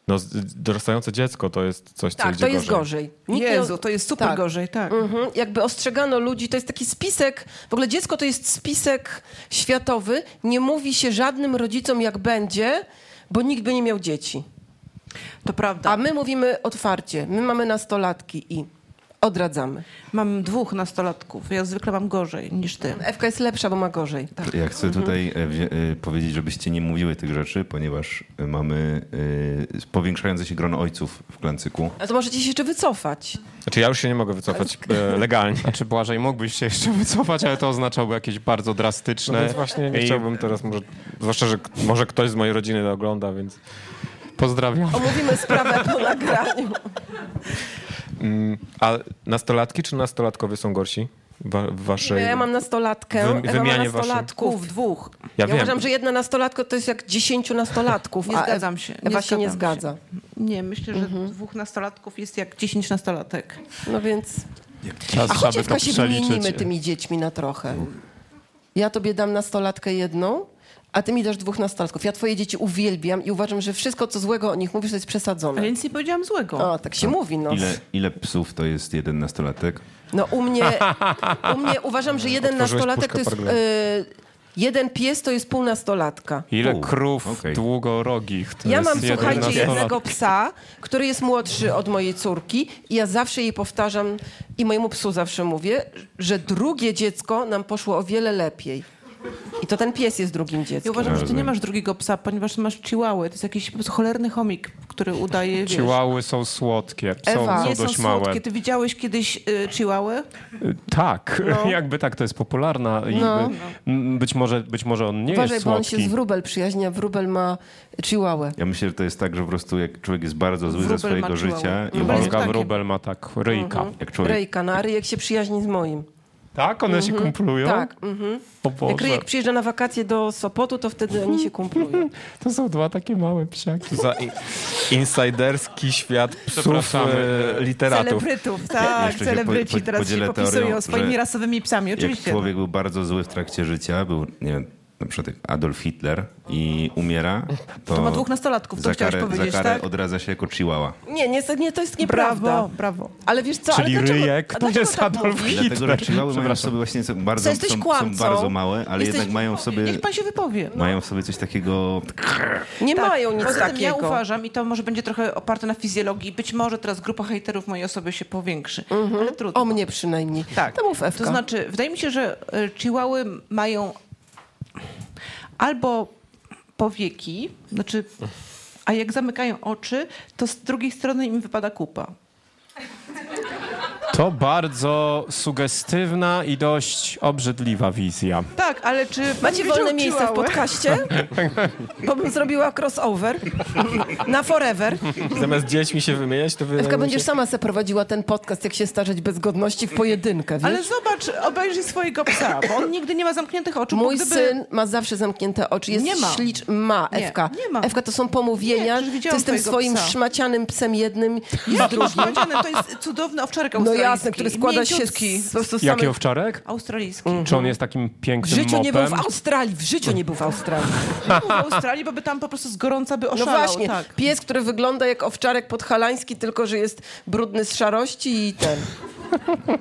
Speaker 1: no, z- dorastające dziecko to jest coś, co
Speaker 3: Tak,
Speaker 1: idzie
Speaker 3: to jest gorzej. Nikt nie-
Speaker 2: Jezu, to jest super
Speaker 3: tak.
Speaker 2: gorzej, tak.
Speaker 3: Mhm, jakby ostrzegano ludzi, to jest taki spisek, w ogóle dziecko to jest spisek światowy, nie mówi się żadnym rodzicom jak będzie, bo nikt by nie miał dzieci.
Speaker 2: To prawda.
Speaker 3: A my mówimy otwarcie, my mamy nastolatki i odradzamy.
Speaker 2: Mam dwóch nastolatków. Ja zwykle mam gorzej niż ty.
Speaker 3: Ewka jest lepsza, bo ma gorzej. tak.
Speaker 5: Ja chcę tutaj e, wzi- e, powiedzieć, żebyście nie mówiły tych rzeczy, ponieważ e, mamy e, powiększające się grono ojców w Klancyku.
Speaker 3: A to możecie się jeszcze wycofać.
Speaker 1: Znaczy ja już się nie mogę wycofać e, legalnie.
Speaker 4: Znaczy Błażej, mógłbyś się jeszcze wycofać, ale to oznaczałoby jakieś
Speaker 1: [LAUGHS]
Speaker 4: bardzo
Speaker 1: No
Speaker 4: drastyczne...
Speaker 1: więc właśnie nie
Speaker 4: I
Speaker 1: chciałbym teraz może, zwłaszcza, że k- może ktoś z mojej rodziny to ogląda, więc...
Speaker 4: Pozdrawiam.
Speaker 3: Omówimy sprawę po nagraniu.
Speaker 1: Mm, a nastolatki czy nastolatkowie są gorsi? Wa- w waszej...
Speaker 3: Ja mam nastolatkę,
Speaker 1: Wy-
Speaker 3: Ewa ma
Speaker 1: wymianie waszych-
Speaker 3: nastolatków.
Speaker 2: Kuf, dwóch.
Speaker 1: Ja
Speaker 3: Ja, uważam, że jedna nastolatka to jest jak dziesięciu nastolatków.
Speaker 2: Nie
Speaker 3: a Ew-
Speaker 2: zgadzam się.
Speaker 3: Ewa się nie
Speaker 2: zgadzam się.
Speaker 3: zgadza. Mhm.
Speaker 2: Nie, myślę, że dwóch nastolatków jest jak dziesięć nastolatek.
Speaker 3: No więc...
Speaker 4: Trzeba
Speaker 3: A choć
Speaker 4: by to
Speaker 3: Ewka się
Speaker 4: przeliczyć.
Speaker 3: wymienimy tymi dziećmi na trochę. Ja tobie dam nastolatkę jedną, a ty mi dasz dwóch nastolatków. Ja twoje dzieci uwielbiam i uważam, że wszystko, co złego o nich mówisz, to jest
Speaker 5: Tak.
Speaker 3: przesadzone.
Speaker 2: Ale nic nie powiedziałam złego.
Speaker 3: O, tak się mówi, no.
Speaker 5: Ile, ile psów to jest jeden nastolatek?
Speaker 3: No u
Speaker 4: [LAUGHS]
Speaker 3: mnie, u mnie uważam, że jeden
Speaker 1: Otworzyłeś
Speaker 3: nastolatek to
Speaker 1: puszkę
Speaker 3: jest...
Speaker 1: Pargleja.
Speaker 3: y, jeden pies to jest pół nastolatka.
Speaker 4: Ile
Speaker 5: U,
Speaker 4: krów
Speaker 5: okej.
Speaker 4: długorogich. To
Speaker 3: Ja
Speaker 4: jest
Speaker 3: mam,
Speaker 4: jeden
Speaker 3: słuchajcie,
Speaker 4: nastolat-
Speaker 3: jednego psa, który jest młodszy od mojej córki i ja zawsze jej powtarzam i mojemu psu zawsze mówię, że drugie dziecko nam poszło o wiele lepiej. I to ten pies jest drugim
Speaker 2: Ja
Speaker 3: dzieckiem.
Speaker 2: uważam, że ty nie
Speaker 5: Rozumiem.
Speaker 2: masz drugiego psa, ponieważ ty masz chihuahuę. To jest jakiś po prostu cholerny chomik, który udaje, wiesz...
Speaker 4: Chihuahuy są słodkie, są,
Speaker 3: Ewa.
Speaker 4: są
Speaker 2: nie są
Speaker 4: dość małe.
Speaker 2: słodkie. Ty widziałeś kiedyś y, chihuahuę?
Speaker 4: Tak, [LAUGHS] jakby tak, to jest popularna i
Speaker 3: No.
Speaker 4: by- m, być, może, być może on nie
Speaker 3: Uważaj,
Speaker 4: jest
Speaker 3: bo on
Speaker 4: słodki.
Speaker 3: się z wróbel przyjaźnia, wróbel ma chihuahuę.
Speaker 5: Ja myślę, że to jest tak, że po prostu jak człowiek jest bardzo zły
Speaker 2: Wróbel
Speaker 5: ze
Speaker 2: ma
Speaker 5: swojego
Speaker 2: chihuahua.
Speaker 5: życia i
Speaker 2: Wróbel
Speaker 5: uważa,
Speaker 2: jest
Speaker 4: Olga
Speaker 2: takim.
Speaker 4: Wróbel ma tak ryjka.
Speaker 3: Mhm.
Speaker 5: jak człowiek
Speaker 3: Rej Kanary, jak się przyjaźni z moim.
Speaker 4: Tak? One się kumplują?
Speaker 3: Tak. Mhm.
Speaker 4: O
Speaker 3: Jak
Speaker 4: Boże,
Speaker 3: Ryjek przyjeżdża na wakacje do Sopotu, to wtedy oni się
Speaker 4: [LAUGHS]
Speaker 3: kumplują.
Speaker 4: to są dwa takie małe psiaki.
Speaker 1: Za in- insiderski świat psów
Speaker 4: Przepraszamy.
Speaker 1: e, literatów.
Speaker 2: Celebrytów,
Speaker 5: Ja
Speaker 2: tak.
Speaker 5: jeszcze się
Speaker 2: celebryci
Speaker 5: po- po-
Speaker 2: teraz się
Speaker 5: podzielę
Speaker 2: popisują
Speaker 5: teorią,
Speaker 2: swoimi
Speaker 5: że
Speaker 2: rasowymi psami.
Speaker 5: Jak
Speaker 2: Oczywiście. no.
Speaker 5: człowiek był bardzo zły w trakcie życia, był, nie wiem, na przykład jak Adolf Hitler i umiera, to,
Speaker 2: To ma dwóch nastolatków, to
Speaker 5: za
Speaker 2: chciałeś
Speaker 5: karę,
Speaker 2: powiedzieć,
Speaker 5: za karę
Speaker 2: tak?
Speaker 5: odradza się jako chihuahua.
Speaker 3: Nie, niestety nie, to jest nieprawda.
Speaker 2: Brawo, brawo.
Speaker 3: Ale wiesz co,
Speaker 4: Czyli
Speaker 3: ale dlaczego,
Speaker 4: ryjek
Speaker 3: a
Speaker 4: to
Speaker 3: dlaczego
Speaker 4: jest
Speaker 3: tak
Speaker 4: Adolf
Speaker 3: mówisz?
Speaker 4: Hitler.
Speaker 5: Dlatego, że chihuahua mają w
Speaker 4: Przepraszam.
Speaker 5: sobie właśnie co- bardzo,
Speaker 3: Co, jesteś
Speaker 5: są, są
Speaker 3: kłamcą?
Speaker 5: bardzo małe, ale
Speaker 3: Jesteś-
Speaker 5: jednak mają w sobie,
Speaker 2: Niech no. pan się wypowie.
Speaker 5: mają w sobie coś takiego...
Speaker 3: Nie
Speaker 2: Tak.
Speaker 3: mają nic
Speaker 2: Poza tym
Speaker 3: takiego.
Speaker 2: ja uważam, i to może będzie trochę oparte na fizjologii, być może teraz grupa hejterów mojej osoby się powiększy, ale trudno.
Speaker 3: Mhm. O mnie przynajmniej.
Speaker 2: tak.
Speaker 3: To mów Ewka.
Speaker 2: To znaczy, wydaje mi się, że y, chihuahy mają albo powieki, znaczy, a jak zamykają oczy, to z drugiej strony im wypada kupa.
Speaker 4: To bardzo sugestywna i dość obrzydliwa wizja.
Speaker 2: Tak, ale czy...
Speaker 3: Macie
Speaker 2: widział
Speaker 3: wolne miejsce w
Speaker 2: chihuahua?
Speaker 4: [LAUGHS]
Speaker 3: podcaście? Bo bym zrobiła crossover
Speaker 4: No,
Speaker 3: [LAUGHS] na forever.
Speaker 1: Zamiast dziećmi się wymieniać, to wy...
Speaker 3: Ewka, będziesz sama se prowadziła ten podcast, jak się starzeć bez godności w pojedynkę, wiesz?
Speaker 2: Ale zobacz, obejrzyj swojego psa, bo on nigdy nie ma zamkniętych oczu. bo
Speaker 3: Mój
Speaker 2: gdyby...
Speaker 3: syn ma zawsze zamknięte oczy. Jest
Speaker 2: Nie ma.
Speaker 3: ślicz... Ma,
Speaker 2: Nie,
Speaker 3: Ewka.
Speaker 2: nie ma.
Speaker 3: Ewka, to są pomówienia.
Speaker 2: Nie, przecież
Speaker 3: to
Speaker 2: widziałam
Speaker 3: jest tym
Speaker 2: twojego
Speaker 3: swoim
Speaker 2: psa.
Speaker 3: szmacianym psem jednym i
Speaker 2: Ja,
Speaker 3: drugim.
Speaker 2: powiedziane, to jest cudowny owczarek
Speaker 3: No
Speaker 2: australijski.
Speaker 3: jasne, który składa się
Speaker 2: Mięciutki. Mhm.
Speaker 3: z, po prostu z
Speaker 4: Jaki
Speaker 3: samych...
Speaker 4: owczarek?
Speaker 2: Australijski.
Speaker 4: Czy on jest takim
Speaker 3: W
Speaker 4: pięknym
Speaker 3: życiu
Speaker 4: mopem?
Speaker 3: nie był w Australii. W życiu nie był w Australii.
Speaker 2: Nie był w Australii, bo by tam po prostu z gorąca by
Speaker 3: No
Speaker 2: oszalał.
Speaker 3: właśnie,
Speaker 2: Tak.
Speaker 3: pies, który wygląda jak owczarek podhalański, tylko że jest brudny z szarości i ten.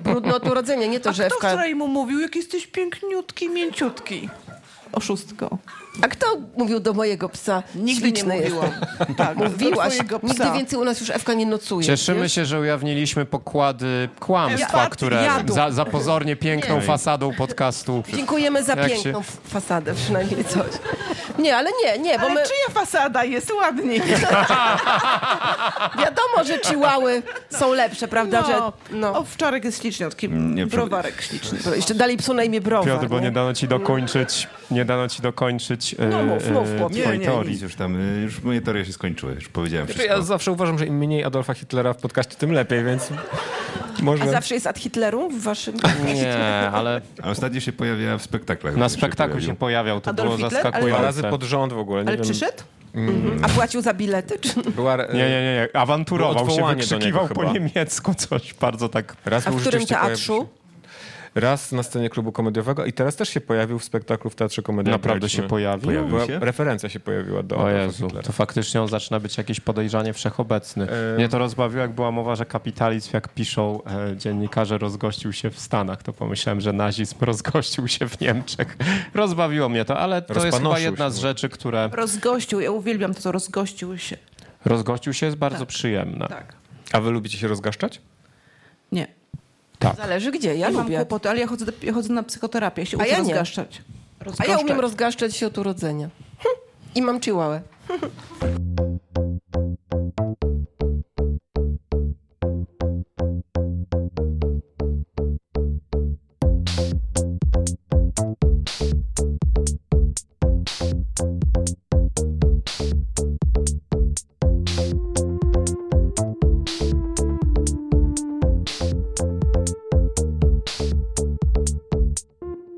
Speaker 3: Brudny od urodzenia, nie to,
Speaker 2: A
Speaker 3: że
Speaker 2: kto
Speaker 3: Ewka.
Speaker 2: wczoraj mu mówił, jak jesteś piękniutki, mięciutki? Oszustko.
Speaker 3: A kto mówił do mojego psa?
Speaker 2: Nigdy
Speaker 3: Śliczny
Speaker 2: nie mówiłam.
Speaker 3: Jest.
Speaker 2: [LAUGHS] Tak,
Speaker 3: Mówiłaś.
Speaker 2: twojego psa.
Speaker 3: Nigdy więcej u nas już Ewka nie nocuje.
Speaker 4: Cieszymy
Speaker 3: wiesz?
Speaker 4: się, że ujawniliśmy pokłady kłamstwa,
Speaker 2: Jadu.
Speaker 4: które
Speaker 3: Jadu.
Speaker 4: za, za pozornie piękną fasadą podcastu.
Speaker 3: Dziękujemy za
Speaker 4: Jak się-
Speaker 3: piękną f- fasadę, przynajmniej coś. Nie, ale nie, nie, bo
Speaker 2: Ale
Speaker 3: my
Speaker 2: czyja fasada jest
Speaker 3: [LAUGHS]
Speaker 2: ładniej?
Speaker 3: wiadomo, że chihuały są lepsze, prawda?
Speaker 2: No,
Speaker 3: Że, no.
Speaker 2: Owczarek jest śliczniutki,
Speaker 5: Nie,
Speaker 2: browarek śliczny.
Speaker 3: Jeszcze dali psu na imię browar.
Speaker 4: Piotr, bo nie dano ci dokończyć, nie dano ci dokończyć dokończyć e,
Speaker 3: No mów, mów,
Speaker 4: e,
Speaker 3: chłopie.
Speaker 5: Nie,
Speaker 4: twojej
Speaker 5: nie,
Speaker 4: teorii.
Speaker 5: nic już tam, y, już moje teorie się skończyły, już powiedziałem
Speaker 1: Znaczy, ja
Speaker 5: wszystko.
Speaker 1: zawsze uważam, że im mniej Adolfa Hitlera w podcaście, tym lepiej, więc
Speaker 3: A
Speaker 1: może...
Speaker 3: zawsze jest ad Hitleru w waszym...
Speaker 4: yy, Nie, ale
Speaker 5: A ostatnio się pojawiała w spektaklach.
Speaker 4: na
Speaker 5: się
Speaker 4: spektaklu się
Speaker 5: pojawił.
Speaker 4: pojawiał, to
Speaker 3: Adolf
Speaker 4: było
Speaker 3: Hitler? Ale-
Speaker 1: Dwa
Speaker 4: zaskakujące.
Speaker 1: razy pod rząd w ogóle. Nie
Speaker 2: Ale
Speaker 1: wiem,
Speaker 2: przyszedł?
Speaker 3: A płacił za bilety? Czy... no?
Speaker 1: Była,
Speaker 4: Nie, nie, nie, nie, awanturował
Speaker 1: Było
Speaker 4: się,
Speaker 1: odwołanie do
Speaker 4: wykrzykiwał
Speaker 1: niego
Speaker 4: po
Speaker 1: chyba.
Speaker 4: niemiecku coś bardzo tak...
Speaker 1: Raz
Speaker 3: A
Speaker 1: był
Speaker 3: w którym
Speaker 1: rzeczywiście pojawił się-
Speaker 3: teatrzu?
Speaker 1: Raz na scenie klubu komediowego i teraz też się pojawił w spektaklu w Teatrze Komediowym.
Speaker 4: Naprawdę się pojawił?
Speaker 5: Pojawił.
Speaker 1: Była,
Speaker 5: się?
Speaker 1: referencja się pojawiła do
Speaker 4: O
Speaker 1: Adolfa
Speaker 4: Jezu,
Speaker 1: Hitlera.
Speaker 4: to faktycznie on zaczyna być jakieś podejrzanie wszechobecny.
Speaker 1: Em.
Speaker 4: Mnie to rozbawiło, jak była mowa, że kapitalizm, jak piszą e, dziennikarze, rozgościł się w Stanach, to pomyślałem, że nazizm [LAUGHS] rozgościł się w Niemczech. Rozbawiło mnie to, ale to jest chyba
Speaker 1: Rozpanoszył
Speaker 4: jedna
Speaker 1: się.
Speaker 4: z rzeczy, które...
Speaker 2: Rozgościł, ja uwielbiam to, co rozgościł się.
Speaker 4: Rozgościł się jest bardzo przyjemne.
Speaker 2: Tak.
Speaker 1: A wy lubicie się rozgaszczać?
Speaker 2: Nie.
Speaker 3: Zależy gdzie, ja
Speaker 2: Ja mam
Speaker 3: lubię.
Speaker 2: kłopoty, ale ja chodzę, do, ja chodzę na psychoterapię, ja się
Speaker 3: A
Speaker 2: uczę
Speaker 3: ja nie.
Speaker 2: rozgaszczać.
Speaker 3: A ja umiem
Speaker 2: Rozgaszczać.
Speaker 3: rozgaszczać się od urodzenia. Hm. I mam chihuahua.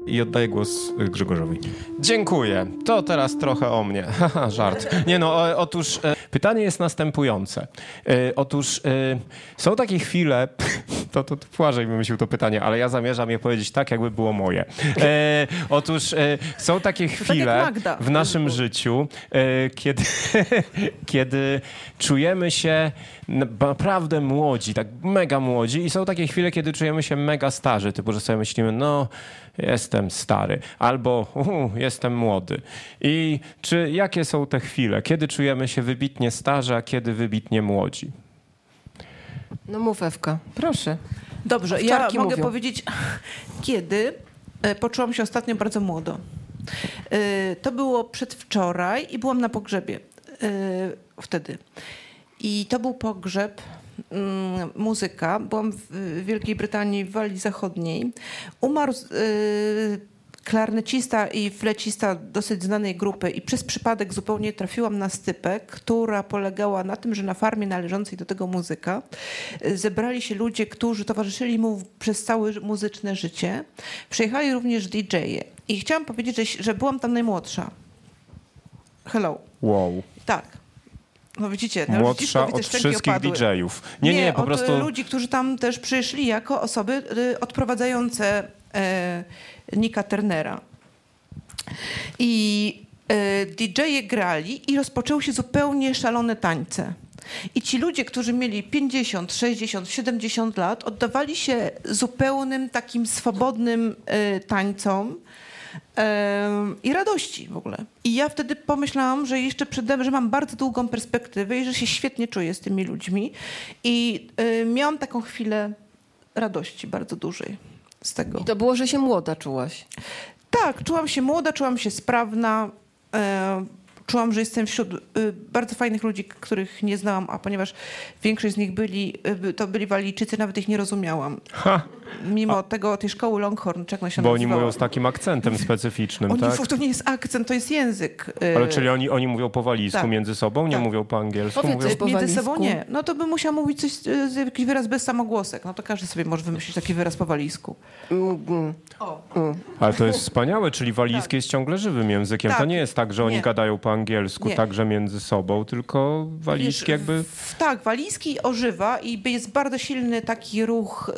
Speaker 1: I oddaję głos y, Grzegorzowi.
Speaker 4: Dziękuję. To teraz trochę o mnie. [LAUGHS] Haha, żart. Nie no, o, otóż e, pytanie jest następujące. E, otóż e, są takie chwile, [LAUGHS] to, to, to Błażej wymyślił to pytanie, ale ja zamierzam je powiedzieć tak, jakby było moje. E, otóż e, są takie
Speaker 2: Tak jak
Speaker 4: chwile
Speaker 2: Magda.
Speaker 4: w naszym życiu, e, kiedy, [LAUGHS] kiedy czujemy się naprawdę młodzi, tak mega młodzi i są takie chwile, kiedy czujemy się mega starzy, typu, że sobie myślimy, no jestem stary albo u, jestem młody. I czy jakie są te chwile, kiedy czujemy się wybitnie starzy, a kiedy wybitnie młodzi?
Speaker 3: No mów Ewka, proszę.
Speaker 2: Dobrze, ja
Speaker 3: Owczarki
Speaker 2: mogę
Speaker 3: mówią.
Speaker 2: powiedzieć, [LAUGHS] kiedy e, poczułam się ostatnio bardzo młodo. E, To było przedwczoraj i byłam na pogrzebie e, wtedy. I to był pogrzeb, mm, muzyka. Byłam w w Wielkiej Brytanii, w Walii Zachodniej. Umarł e, klarnecista i flecista dosyć znanej grupy i przez przypadek zupełnie trafiłam na stypę, która polegała na tym, że na farmie należącej do tego muzyka y, zebrali się ludzie, którzy towarzyszyli mu w- przez całe ży- muzyczne życie. Przyjechali również DJ-e i chciałam powiedzieć, że, ś- że byłam tam najmłodsza. Hello.
Speaker 4: Wow.
Speaker 2: Tak. No widzicie, no widzisz, to
Speaker 4: Młodsza
Speaker 2: widzę,
Speaker 4: od
Speaker 2: szczęki
Speaker 4: wszystkich
Speaker 2: opadły.
Speaker 4: DJ-ów. Nie, nie, po
Speaker 2: od y,
Speaker 4: prostu...
Speaker 2: ludzi, którzy tam też przyszli jako osoby y, odprowadzające e, Nika Turnera. I e, DJ-e grali i rozpoczęły się zupełnie szalone tańce. I ci ludzie, którzy mieli 50, 60, 70 lat, oddawali się zupełnym takim swobodnym e, tańcom em, i radości w ogóle. I ja wtedy pomyślałam, że jeszcze przede że mam bardzo długą perspektywę i że się świetnie czuję z tymi ludźmi. I e, miałam taką chwilę radości bardzo dużej z tego.
Speaker 3: I to było, że się młoda czułaś.
Speaker 2: Tak, czułam się młoda, czułam się sprawna. E, czułam, że jestem wśród e, bardzo fajnych ludzi, k- których nie znałam, a ponieważ większość z nich byli, e, by- to byli Walijczycy, nawet ich nie rozumiałam.
Speaker 4: Ha,
Speaker 2: Mimo tego, tej szkoły Longhorn, czy jak ona się
Speaker 4: bo oni
Speaker 2: nazywała.
Speaker 4: mówią z takim akcentem specyficznym,
Speaker 2: Oni,
Speaker 4: tak?
Speaker 2: To nie jest akcent, to jest język. e,
Speaker 4: Ale czyli oni, oni mówią po walizku
Speaker 2: tak.
Speaker 4: między sobą, nie
Speaker 2: Tak.
Speaker 4: mówią po angielsku,
Speaker 3: Powiedz
Speaker 4: mówią...
Speaker 3: coś po
Speaker 2: e, Między
Speaker 3: walizku.
Speaker 2: sobą nie. No to bym musiała mówić coś, e, z- jakiś wyraz bez samogłosek. No to każdy sobie może wymyślić taki wyraz po walizku.
Speaker 4: Ale to jest wspaniałe, czyli walijski jest ciągle żywym językiem. To
Speaker 2: Tak.
Speaker 4: nie jest tak, że oni
Speaker 2: Nie.
Speaker 4: gadają po angielsku
Speaker 2: Nie.
Speaker 4: także między sobą, tylko walijski
Speaker 2: Wiesz,
Speaker 4: jakby...
Speaker 2: W, tak, walijski ożywa i jest bardzo silny taki ruch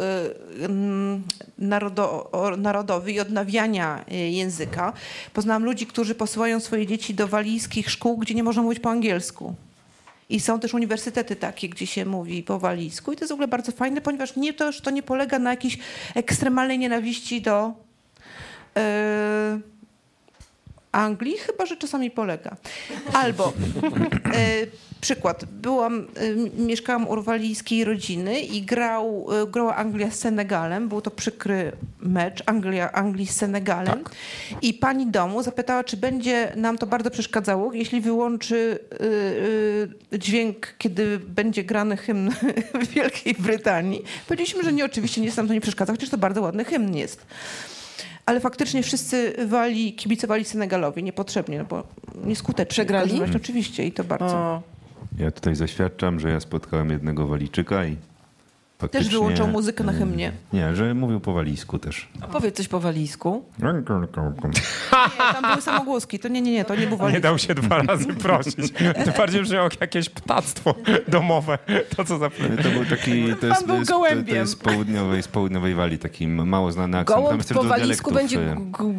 Speaker 2: y, mm, narodo, o- narodowy i odnawiania y, języka. Poznałam ludzi, którzy posyłają swoje dzieci do walijskich szkół, gdzie nie można mówić po angielsku. I są też uniwersytety takie, gdzie się mówi po walijsku. I to jest w ogóle bardzo fajne, ponieważ nie, to, to nie polega na jakiejś ekstremalnej nienawiści do. y, Anglii, chyba że czasami polega. Albo e, przykład. Byłam, e, mieszkałam u walijskiej rodziny i grał, e, grała Anglia z Senegalem. Był to przykry mecz Anglia, Anglii z Senegalem. I pani domu zapytała, czy będzie nam to bardzo przeszkadzało, jeśli wyłączy e, e, dźwięk, kiedy będzie grany hymn [LAUGHS] Wielkiej Brytanii. Powiedzieliśmy, że nie, oczywiście nic nam to nie przeszkadza, chociaż to bardzo ładny hymn jest. ale faktycznie wszyscy wali, kibicowali Senegalowi niepotrzebnie, no bo nieskutecznie.
Speaker 3: Przegrali?
Speaker 2: W każdym razie Oczywiście i to bardzo.
Speaker 3: O,
Speaker 5: Ja tutaj zaświadczam, że ja spotkałem jednego Walijczyka i faktycznie...
Speaker 2: Też wyłączał muzykę na hymnie.
Speaker 5: Nie, że mówił po walijsku też.
Speaker 3: powiedz coś po walijsku.
Speaker 2: Nie, tam były samogłoski, to nie, nie, nie, to nie było
Speaker 4: Nie dał się dwa razy prosić. Tym bardziej brzmiało jak jakieś ptactwo domowe. To co za...
Speaker 5: To był taki... To
Speaker 2: był
Speaker 5: jest, to jest, To
Speaker 2: gołębiem.
Speaker 5: jest z południowej, z południowej Walii, taki mało znany akcent. Tam
Speaker 3: Gołąb
Speaker 5: jest też
Speaker 3: po
Speaker 5: dużo
Speaker 3: walijsku
Speaker 5: dialektów,
Speaker 3: będzie...
Speaker 5: e,
Speaker 3: gu-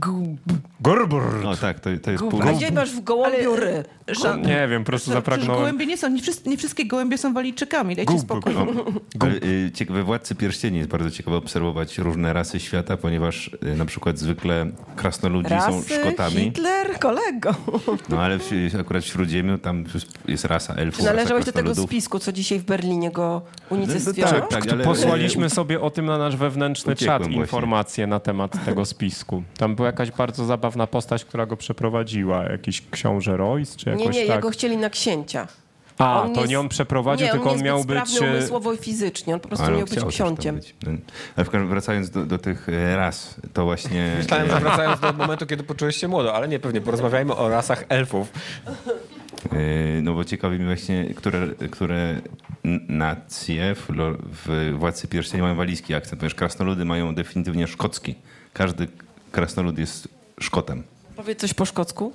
Speaker 3: gu- gu-
Speaker 4: Gorbur!
Speaker 5: No tak, to, to jest
Speaker 3: gu-
Speaker 5: pół...
Speaker 3: A gdzie masz w gołąbiu ry?
Speaker 2: Że,
Speaker 4: Nie wiem, po prostu
Speaker 2: Przecież
Speaker 4: zapragnąłem.
Speaker 2: gołębie nie są, nie, wszyscy, nie wszystkie gołębie są walijczykami, dajcie
Speaker 4: Gub,
Speaker 2: spokój.
Speaker 5: O, ale, y, ciek- we Władcy Pierścieni jest bardzo ciekawe obserwować różne rasy świata, ponieważ y, na przykład zwykle krasnoludzi są
Speaker 3: Rasy,
Speaker 5: Szkotami,
Speaker 3: Hitler, kolego.
Speaker 5: no ale w, akurat w Śródziemiu tam jest rasa elfów,
Speaker 3: Czy należałeś
Speaker 5: rasa
Speaker 3: do tego
Speaker 5: krasnoludów.
Speaker 3: spisku, co dzisiaj w Berlinie go
Speaker 5: No, no
Speaker 3: unicestwiono?
Speaker 5: tak, tak, ale-
Speaker 4: Posłaliśmy sobie o tym na nasz wewnętrzny
Speaker 5: Uciekłem
Speaker 4: czat
Speaker 5: właśnie.
Speaker 4: informacje na temat tego spisku. Tam była jakaś bardzo zabawna postać, która go przeprowadziła. Jakiś książę Royce czy jakoś
Speaker 3: Nie, nie,
Speaker 4: tak.
Speaker 3: jego chcieli na księcia.
Speaker 4: A,
Speaker 3: On
Speaker 4: to
Speaker 3: jest-
Speaker 4: nie on przeprowadził,
Speaker 3: nie,
Speaker 4: tylko on,
Speaker 3: on
Speaker 4: miał być... e, no,
Speaker 3: umysłowo i fizycznie, on po prostu
Speaker 5: Ale
Speaker 3: miał być
Speaker 5: chciał też tam
Speaker 3: ksiąciem.
Speaker 5: być. No, Ale w każdym wracając do, do tych e, ras, to właśnie... e,
Speaker 1: Myślałem, że Tak, wracając do momentu, kiedy poczułeś się młodo, ale nie, pewnie porozmawiajmy o rasach elfów.
Speaker 5: Yy, No bo ciekawi mnie właśnie, które, które n- nacje w, lo- w Władcy Pierścieni mają walijski akcent, ponieważ krasnoludy mają definitywnie szkocki. Każdy krasnolud jest Szkotem.
Speaker 3: Powiedz coś po szkocku.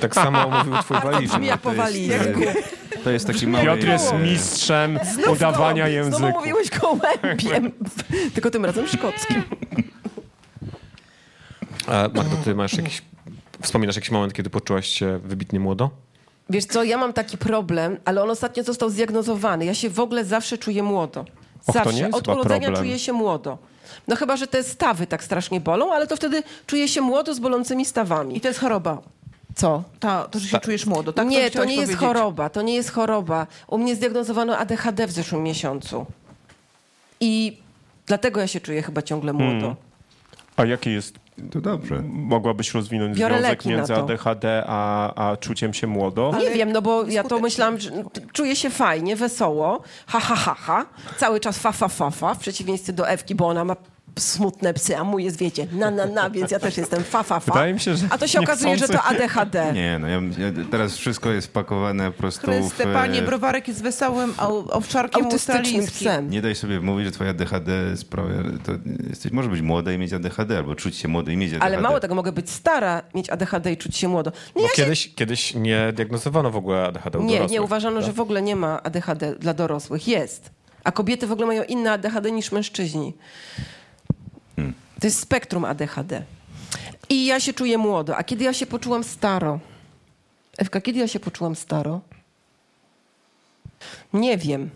Speaker 1: Tak samo mówił
Speaker 3: [LAUGHS]
Speaker 1: twój walijczyk.
Speaker 3: Brzmi jak po walijsku.
Speaker 5: y, To jest taki mały...
Speaker 4: Piotr jest
Speaker 5: e,
Speaker 4: mistrzem udawania
Speaker 3: Znowu
Speaker 4: języków.
Speaker 3: mówiłeś gołębiem, [LAUGHS] tylko tym razem szkockim.
Speaker 1: A Magdo, ty masz jakiś... Wspominasz jakiś moment, kiedy poczułaś się wybitnie młodo?
Speaker 3: Wiesz co, ja mam taki problem, ale on ostatnio został zdiagnozowany. Ja się w ogóle zawsze czuję młodo.
Speaker 4: Och, to
Speaker 3: Zawsze.
Speaker 4: nie jest
Speaker 3: Od
Speaker 4: chyba
Speaker 3: urodzenia
Speaker 4: problem.
Speaker 3: czuję się młodo. No chyba, że te stawy tak strasznie bolą, ale to wtedy czuję się młodo z bolącymi
Speaker 2: I
Speaker 3: stawami.
Speaker 2: to jest choroba,
Speaker 3: Co?
Speaker 2: to, to że się czujesz młodo, tak?
Speaker 3: nie, to
Speaker 2: chciałeś
Speaker 3: nie jest
Speaker 2: powiedzieć.
Speaker 3: choroba, to nie jest choroba. U mnie zdiagnozowano ADHD w zeszłym miesiącu. I dlatego ja się czuję chyba ciągle młodo.
Speaker 4: Hmm. A jaki jest...
Speaker 5: To dobrze.
Speaker 4: Mogłabyś rozwinąć
Speaker 3: Biorę
Speaker 4: związek
Speaker 3: leki na
Speaker 4: między
Speaker 3: to.
Speaker 4: ADHD a, a czuciem się młodo?
Speaker 3: Nie wiem, no bo ja to myślałam, że czuję się fajnie, wesoło, ha, ha, ha, ha, cały czas fa, fa, fa, fa, w przeciwieństwie do Ewki, bo ona ma smutne psy, a mój jest, wiecie, na, na, na, więc ja też jestem fa, fa, fa.
Speaker 4: Wydaje mi się, że
Speaker 3: a to się okazuje, że to
Speaker 4: niechcący-
Speaker 3: ADHD.
Speaker 5: Nie, no ja, bym- ja, teraz wszystko jest pakowane po prostu w...
Speaker 2: Chryste,
Speaker 5: e,
Speaker 2: panie, browarek jest wesołym au- owczarkiem
Speaker 3: Autystycznym
Speaker 2: australijskim.
Speaker 3: psem.
Speaker 5: Nie daj sobie mówić, że twoje ADHD sprawia... To jesteś, może być młoda i mieć ADHD, albo czuć się młody i mieć ADHD.
Speaker 3: Ale mało tego, mogę być stara, mieć ADHD i czuć się młodo. Nie,
Speaker 1: Bo
Speaker 3: ja się
Speaker 1: kiedyś, kiedyś nie diagnozowano w ogóle ADHD u
Speaker 3: Nie,
Speaker 1: dorosłych,
Speaker 3: nie uważano, że
Speaker 1: prawda?
Speaker 3: w ogóle nie ma ADHD dla dorosłych. Jest. A kobiety w ogóle mają inne ADHD niż mężczyźni.
Speaker 1: Hmm.
Speaker 3: To jest spektrum ADHD. I ja się czuję młodo. A kiedy ja się poczułam staro? Ewka, kiedy ja się poczułam staro? Nie wiem.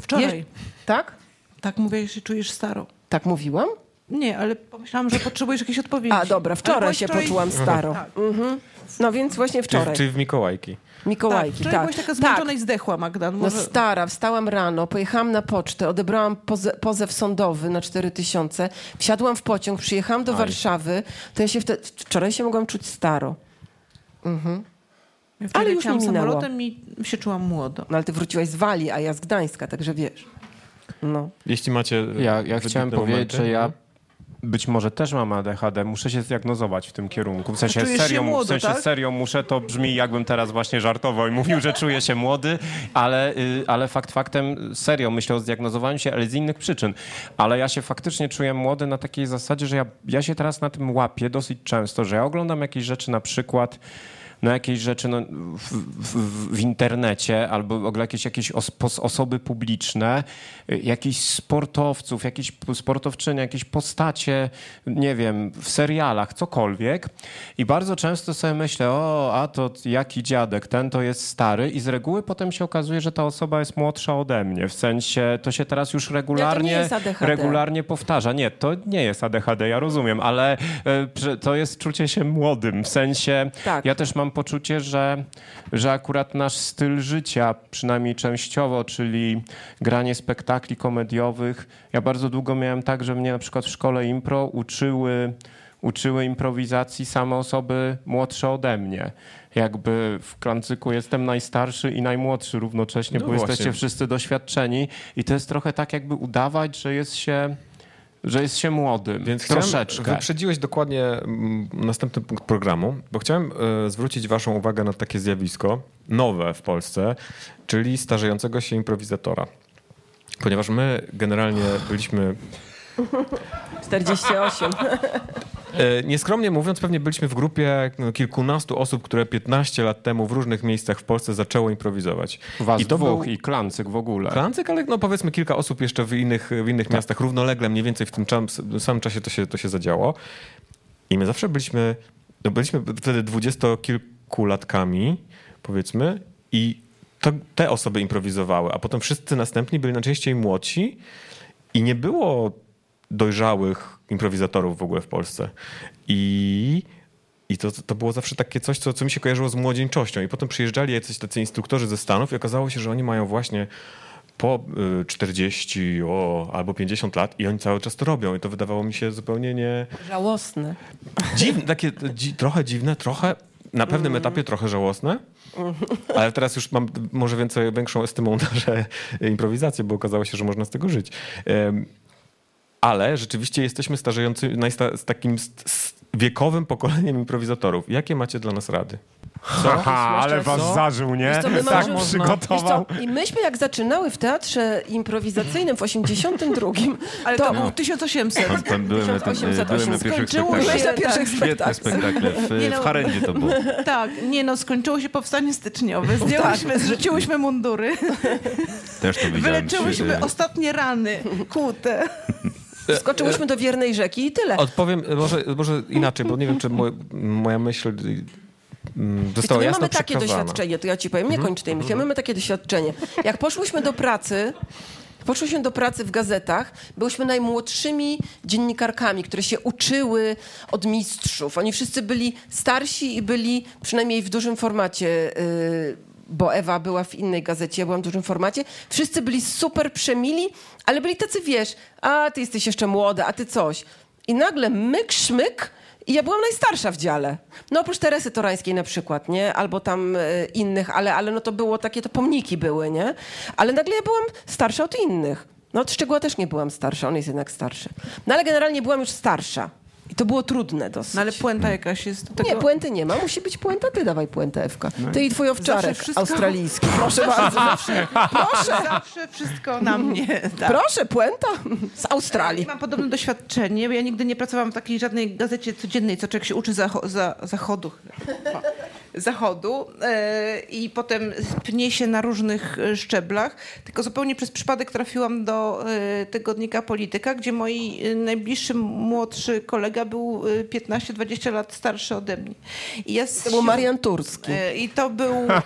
Speaker 2: Wczoraj.
Speaker 3: Je- tak?
Speaker 2: Tak mówię, że się czujesz staro.
Speaker 3: Tak mówiłam?
Speaker 2: Nie, ale pomyślałam, że potrzebujesz jakiejś odpowiedzi.
Speaker 3: A dobra,
Speaker 2: Ale
Speaker 3: wczoraj
Speaker 2: byłaś
Speaker 3: się poczułam staro.
Speaker 2: Tak.
Speaker 3: Mhm. No więc właśnie
Speaker 1: Czy,
Speaker 3: wczoraj.
Speaker 1: czy w Mikołajki.
Speaker 2: Tak,
Speaker 3: Mikołajki,
Speaker 2: wczoraj
Speaker 3: tak.
Speaker 2: byłaś taka zmęczona i zdechła, Magda. No
Speaker 3: No
Speaker 2: Może...
Speaker 3: stara, wstałam rano, pojechałam na pocztę, odebrałam poze, pozew sądowy na 4000, wsiadłam w pociąg, przyjechałam do Warszawy, to ja się wtedy, wczoraj się mogłam czuć staro.
Speaker 2: Ja wczoraj
Speaker 3: Ale już
Speaker 2: leciałam
Speaker 3: nie minęło.
Speaker 2: samolotem i się czułam młodo.
Speaker 3: No ale ty wróciłaś z Walii, a ja z Gdańska, także wiesz. No.
Speaker 1: Jeśli macie... e,
Speaker 4: Ja, ja
Speaker 1: wybitne
Speaker 4: chciałem powiedzieć,
Speaker 1: momenty, Mhm.
Speaker 4: że ja być może też mam ADHD, muszę się zdiagnozować w tym kierunku. W sensie,
Speaker 2: Czujesz się
Speaker 4: serio, mu-
Speaker 2: młodo,
Speaker 4: w sensie
Speaker 2: tak?
Speaker 4: serio muszę, to brzmi jakbym teraz właśnie żartował i [LAUGHS] mówił, że czuję się młody, ale, y, ale fakt faktem serio myślę o zdiagnozowaniu się, ale z innych przyczyn. Ale ja się faktycznie czuję młody na takiej zasadzie, że ja, ja się teraz na tym łapię dosyć często, że ja oglądam jakieś rzeczy na przykład na jakieś rzeczy no, w, w, w internecie albo w ogóle jakieś, jakieś os, pos, osoby publiczne, y, jakichś sportowców, jakieś p- sportowczynie, jakieś postacie, nie wiem, w serialach, cokolwiek. I bardzo często sobie myślę, o, a to jaki dziadek, ten to jest stary i z reguły potem się okazuje, że ta osoba jest młodsza ode mnie. W sensie, to się teraz już regularnie...
Speaker 3: jest ADHD.
Speaker 4: regularnie regularnie powtarza. Nie, to nie jest ADHD, ja rozumiem, ale e, prze- to jest czucie się młodym. W sensie
Speaker 3: Tak.
Speaker 4: ja też mam poczucie, że, że akurat nasz styl życia, przynajmniej częściowo, czyli granie spektakli komediowych. Ja bardzo długo miałem tak, że mnie na przykład w szkole impro uczyły. Uczyły improwizacji same osoby młodsze ode mnie. Jakby w klancyku jestem najstarszy i najmłodszy równocześnie,
Speaker 1: No
Speaker 4: bo
Speaker 1: właśnie.
Speaker 4: jesteście wszyscy doświadczeni i to jest trochę tak jakby udawać, że jest się Że jest się młodym.
Speaker 1: Więc
Speaker 4: Więc
Speaker 1: chciałem,
Speaker 4: troszeczkę.
Speaker 1: wyprzedziłeś dokładnie mm, następny punkt programu, bo chciałem e, zwrócić waszą uwagę na takie zjawisko nowe w Polsce, czyli starzejącego się improwizatora. Ponieważ my generalnie byliśmy
Speaker 3: [LAUGHS] 48.
Speaker 1: E, Nieskromnie mówiąc, pewnie byliśmy w grupie no, kilkunastu osób, które 15 lat temu w różnych miejscach w Polsce zaczęło improwizować.
Speaker 4: Was
Speaker 1: I to
Speaker 4: dwóch
Speaker 1: był
Speaker 4: i klancyk w ogóle.
Speaker 1: Francyk, ale no powiedzmy kilka osób jeszcze w innych, w innych miastach równolegle, mniej więcej w tym czas, w samym czasie to się, to się zadziało. I my zawsze byliśmy, no byliśmy wtedy dwudziestokilkulatkami, powiedzmy, i to, te osoby improwizowały, a potem wszyscy następni byli najczęściej młodsi i nie było dojrzałych improwizatorów w ogóle w Polsce. I, i to, to było zawsze takie coś, co, co mi się kojarzyło z młodzieńczością. I potem przyjeżdżali jacyś tacy instruktorzy ze Stanów i okazało się, że oni mają właśnie po y, 40 o, albo 50 lat i oni cały czas to robią. I to wydawało mi się zupełnie nie...
Speaker 3: Żałosne.
Speaker 1: Dziwne, takie dzi, trochę dziwne, trochę... Na pewnym
Speaker 3: Mm.
Speaker 1: etapie trochę żałosne, ale teraz już mam może więcej, większą estymą że improwizację, bo okazało się, że można z tego żyć. Em, ale rzeczywiście jesteśmy starzejący, najsta, z takim st, s- wiekowym pokoleniem improwizatorów. Jakie macie dla nas rady?
Speaker 4: Aha,
Speaker 3: Jeszcze
Speaker 4: ale was
Speaker 3: co?
Speaker 4: zażył, nie?
Speaker 3: Wiesz co, my
Speaker 4: tak
Speaker 3: mamy-
Speaker 4: mu
Speaker 3: Wiesz co,
Speaker 4: przygotował.
Speaker 3: I myśmy jak zaczynały w teatrze improwizacyjnym w 82,
Speaker 2: Ale to, był 1800.
Speaker 5: Tam, tam byłem, na tym, e, byłem na
Speaker 3: 1808
Speaker 5: pierwszych
Speaker 3: skończyło
Speaker 5: spektaklach.
Speaker 3: się
Speaker 2: Byłeś na
Speaker 3: tak,
Speaker 2: pierwszych
Speaker 5: Świetne spektakle.
Speaker 2: Nie
Speaker 5: W,
Speaker 2: no.
Speaker 5: w Harendzie to było.
Speaker 2: Tak, nie no, skończyło się powstanie styczniowe. Zdjęłyśmy, zrzuciłyśmy mundury,
Speaker 5: Też to widziałem.
Speaker 2: wyleczyłyśmy
Speaker 5: E,
Speaker 2: ostatnie rany, kłute.
Speaker 3: skoczyłyśmy do wiernej rzeki i tyle.
Speaker 1: Odpowiem może, może inaczej, bo nie wiem, czy moj, moja myśl y, mm,
Speaker 3: Wiesz,
Speaker 1: została
Speaker 3: my
Speaker 1: jasno
Speaker 3: mamy takie
Speaker 1: przekazana.
Speaker 3: doświadczenie, to ja ci powiem, nie kończ tej myśli, my mamy takie doświadczenie. Jak poszłyśmy do pracy, poszłyśmy do pracy w gazetach, byłyśmy najmłodszymi dziennikarkami, które się uczyły od mistrzów. Oni wszyscy byli starsi i byli przynajmniej w dużym formacie. y, bo Ewa była w innej gazecie, ja byłam w dużym formacie. Wszyscy byli super przemili, ale byli tacy, wiesz, a ty jesteś jeszcze młoda, a ty coś. I nagle myk, szmyk, i ja byłam najstarsza w dziale. No oprócz Teresy Torańskiej na przykład, nie? Albo tam e, innych, ale, ale no to było takie, to pomniki były, nie? Ale nagle ja byłam starsza od innych. No od Szczegóła też nie byłam starsza, on jest jednak starszy. No ale generalnie byłam już starsza. I to było trudne dosyć.
Speaker 2: No ale puenta jakaś jest do tego.
Speaker 3: Nie, puenty nie ma, musi być puenta, ty dawaj puentę, Ewka. Ty i twój
Speaker 2: Zawsze
Speaker 3: owczarek
Speaker 2: wszystko-
Speaker 3: australijski. Proszę bardzo, zawsze.
Speaker 2: Zawsze, zawsze wszystko na mnie. Tak.
Speaker 3: Proszę, puenta z Australii.
Speaker 2: Mam podobne doświadczenie, bo ja nigdy nie pracowałam w takiej żadnej gazecie codziennej, co człowiek się uczy zacho- za- zachodu. [LAUGHS] chyba. Zachodu e, i potem pnie się na różnych e, szczeblach. Tylko zupełnie przez przypadek trafiłam do e, tygodnika Polityka, gdzie mój e, najbliższy młodszy kolega był e, 15-20 lat starszy ode mnie. I ja z
Speaker 3: To był Marian Turski.
Speaker 2: e, I to był. e,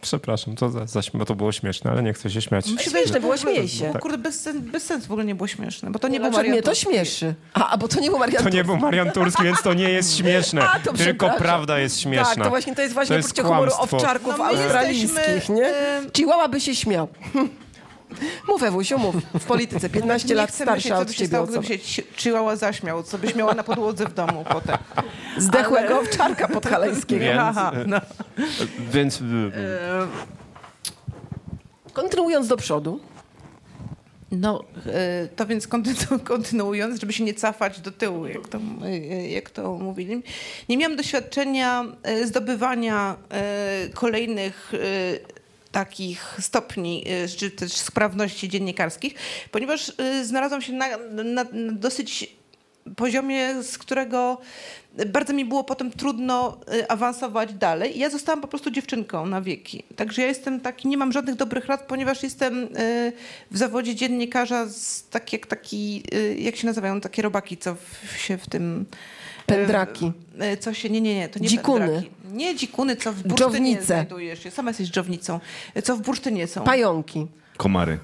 Speaker 4: Przepraszam, to, za, za, śmie- to było śmieszne, ale nie chcę się śmiać.
Speaker 3: [LAUGHS] Śmieszne było, śmiej się.
Speaker 2: Bo, Kurde, bez, sen- bez sensu w ogóle nie było śmieszne, bo to nie,
Speaker 3: Nie,
Speaker 2: był
Speaker 3: bo mnie
Speaker 2: wariant.
Speaker 3: to śmieszy. A, a bo to nie był Marian
Speaker 4: To nie
Speaker 3: Turski.
Speaker 4: był Marian Turski, więc to nie
Speaker 3: [LAUGHS]
Speaker 4: jest śmieszne.
Speaker 3: A, to
Speaker 4: Tylko
Speaker 3: przepraszam.
Speaker 4: prawda jest śmieszna.
Speaker 3: Tak, to właśnie to jest właśnie
Speaker 4: To jest
Speaker 3: poczucie humoru
Speaker 4: kłamstwo.
Speaker 3: owczarków
Speaker 2: No my
Speaker 3: australijskich,
Speaker 2: jesteśmy,
Speaker 3: nie?
Speaker 2: em,
Speaker 3: Chihuahua by się śmiał. [LAUGHS] Mów Ewusiu, mów. W polityce 15 lat
Speaker 2: chcemy się,
Speaker 3: starsza
Speaker 2: co
Speaker 3: od
Speaker 2: by się
Speaker 3: ciebie
Speaker 2: stało, gdyby
Speaker 3: osoba.
Speaker 2: się ci- Chihuahua zaśmiał, co byś miała na podłodze w domu potem.
Speaker 3: Zdechłego owczarka podhalańskiego.
Speaker 4: Więc,
Speaker 2: Aha, no.
Speaker 4: Więc y,
Speaker 3: E, Kontynuując do przodu.
Speaker 2: No, e, to więc kontynu- kontynuując, żeby się nie cofać do tyłu, jak to, e, jak to mówili. Nie miałam doświadczenia e, zdobywania e, kolejnych e, takich stopni, e, czy też sprawności dziennikarskich, ponieważ e, znalazłam się na, na, na dosyć poziomie, z którego bardzo mi było potem trudno y, awansować dalej. I ja zostałam po prostu dziewczynką na wieki. Także ja jestem taki, nie mam żadnych dobrych rad, ponieważ jestem y, w zawodzie dziennikarza z tak jak taki, y, jak się nazywają takie robaki, co w, się w tym... y,
Speaker 3: Pędraki.
Speaker 2: y, Co się, nie, nie, nie, to nie
Speaker 3: Dzikuny.
Speaker 2: pędraki. Nie dzikuny, co w bursztynie
Speaker 3: Dżownice.
Speaker 2: znajdujesz się. Sama jesteś dżownicą. Y, Co w bursztynie są.
Speaker 3: Pająki,
Speaker 5: Komary.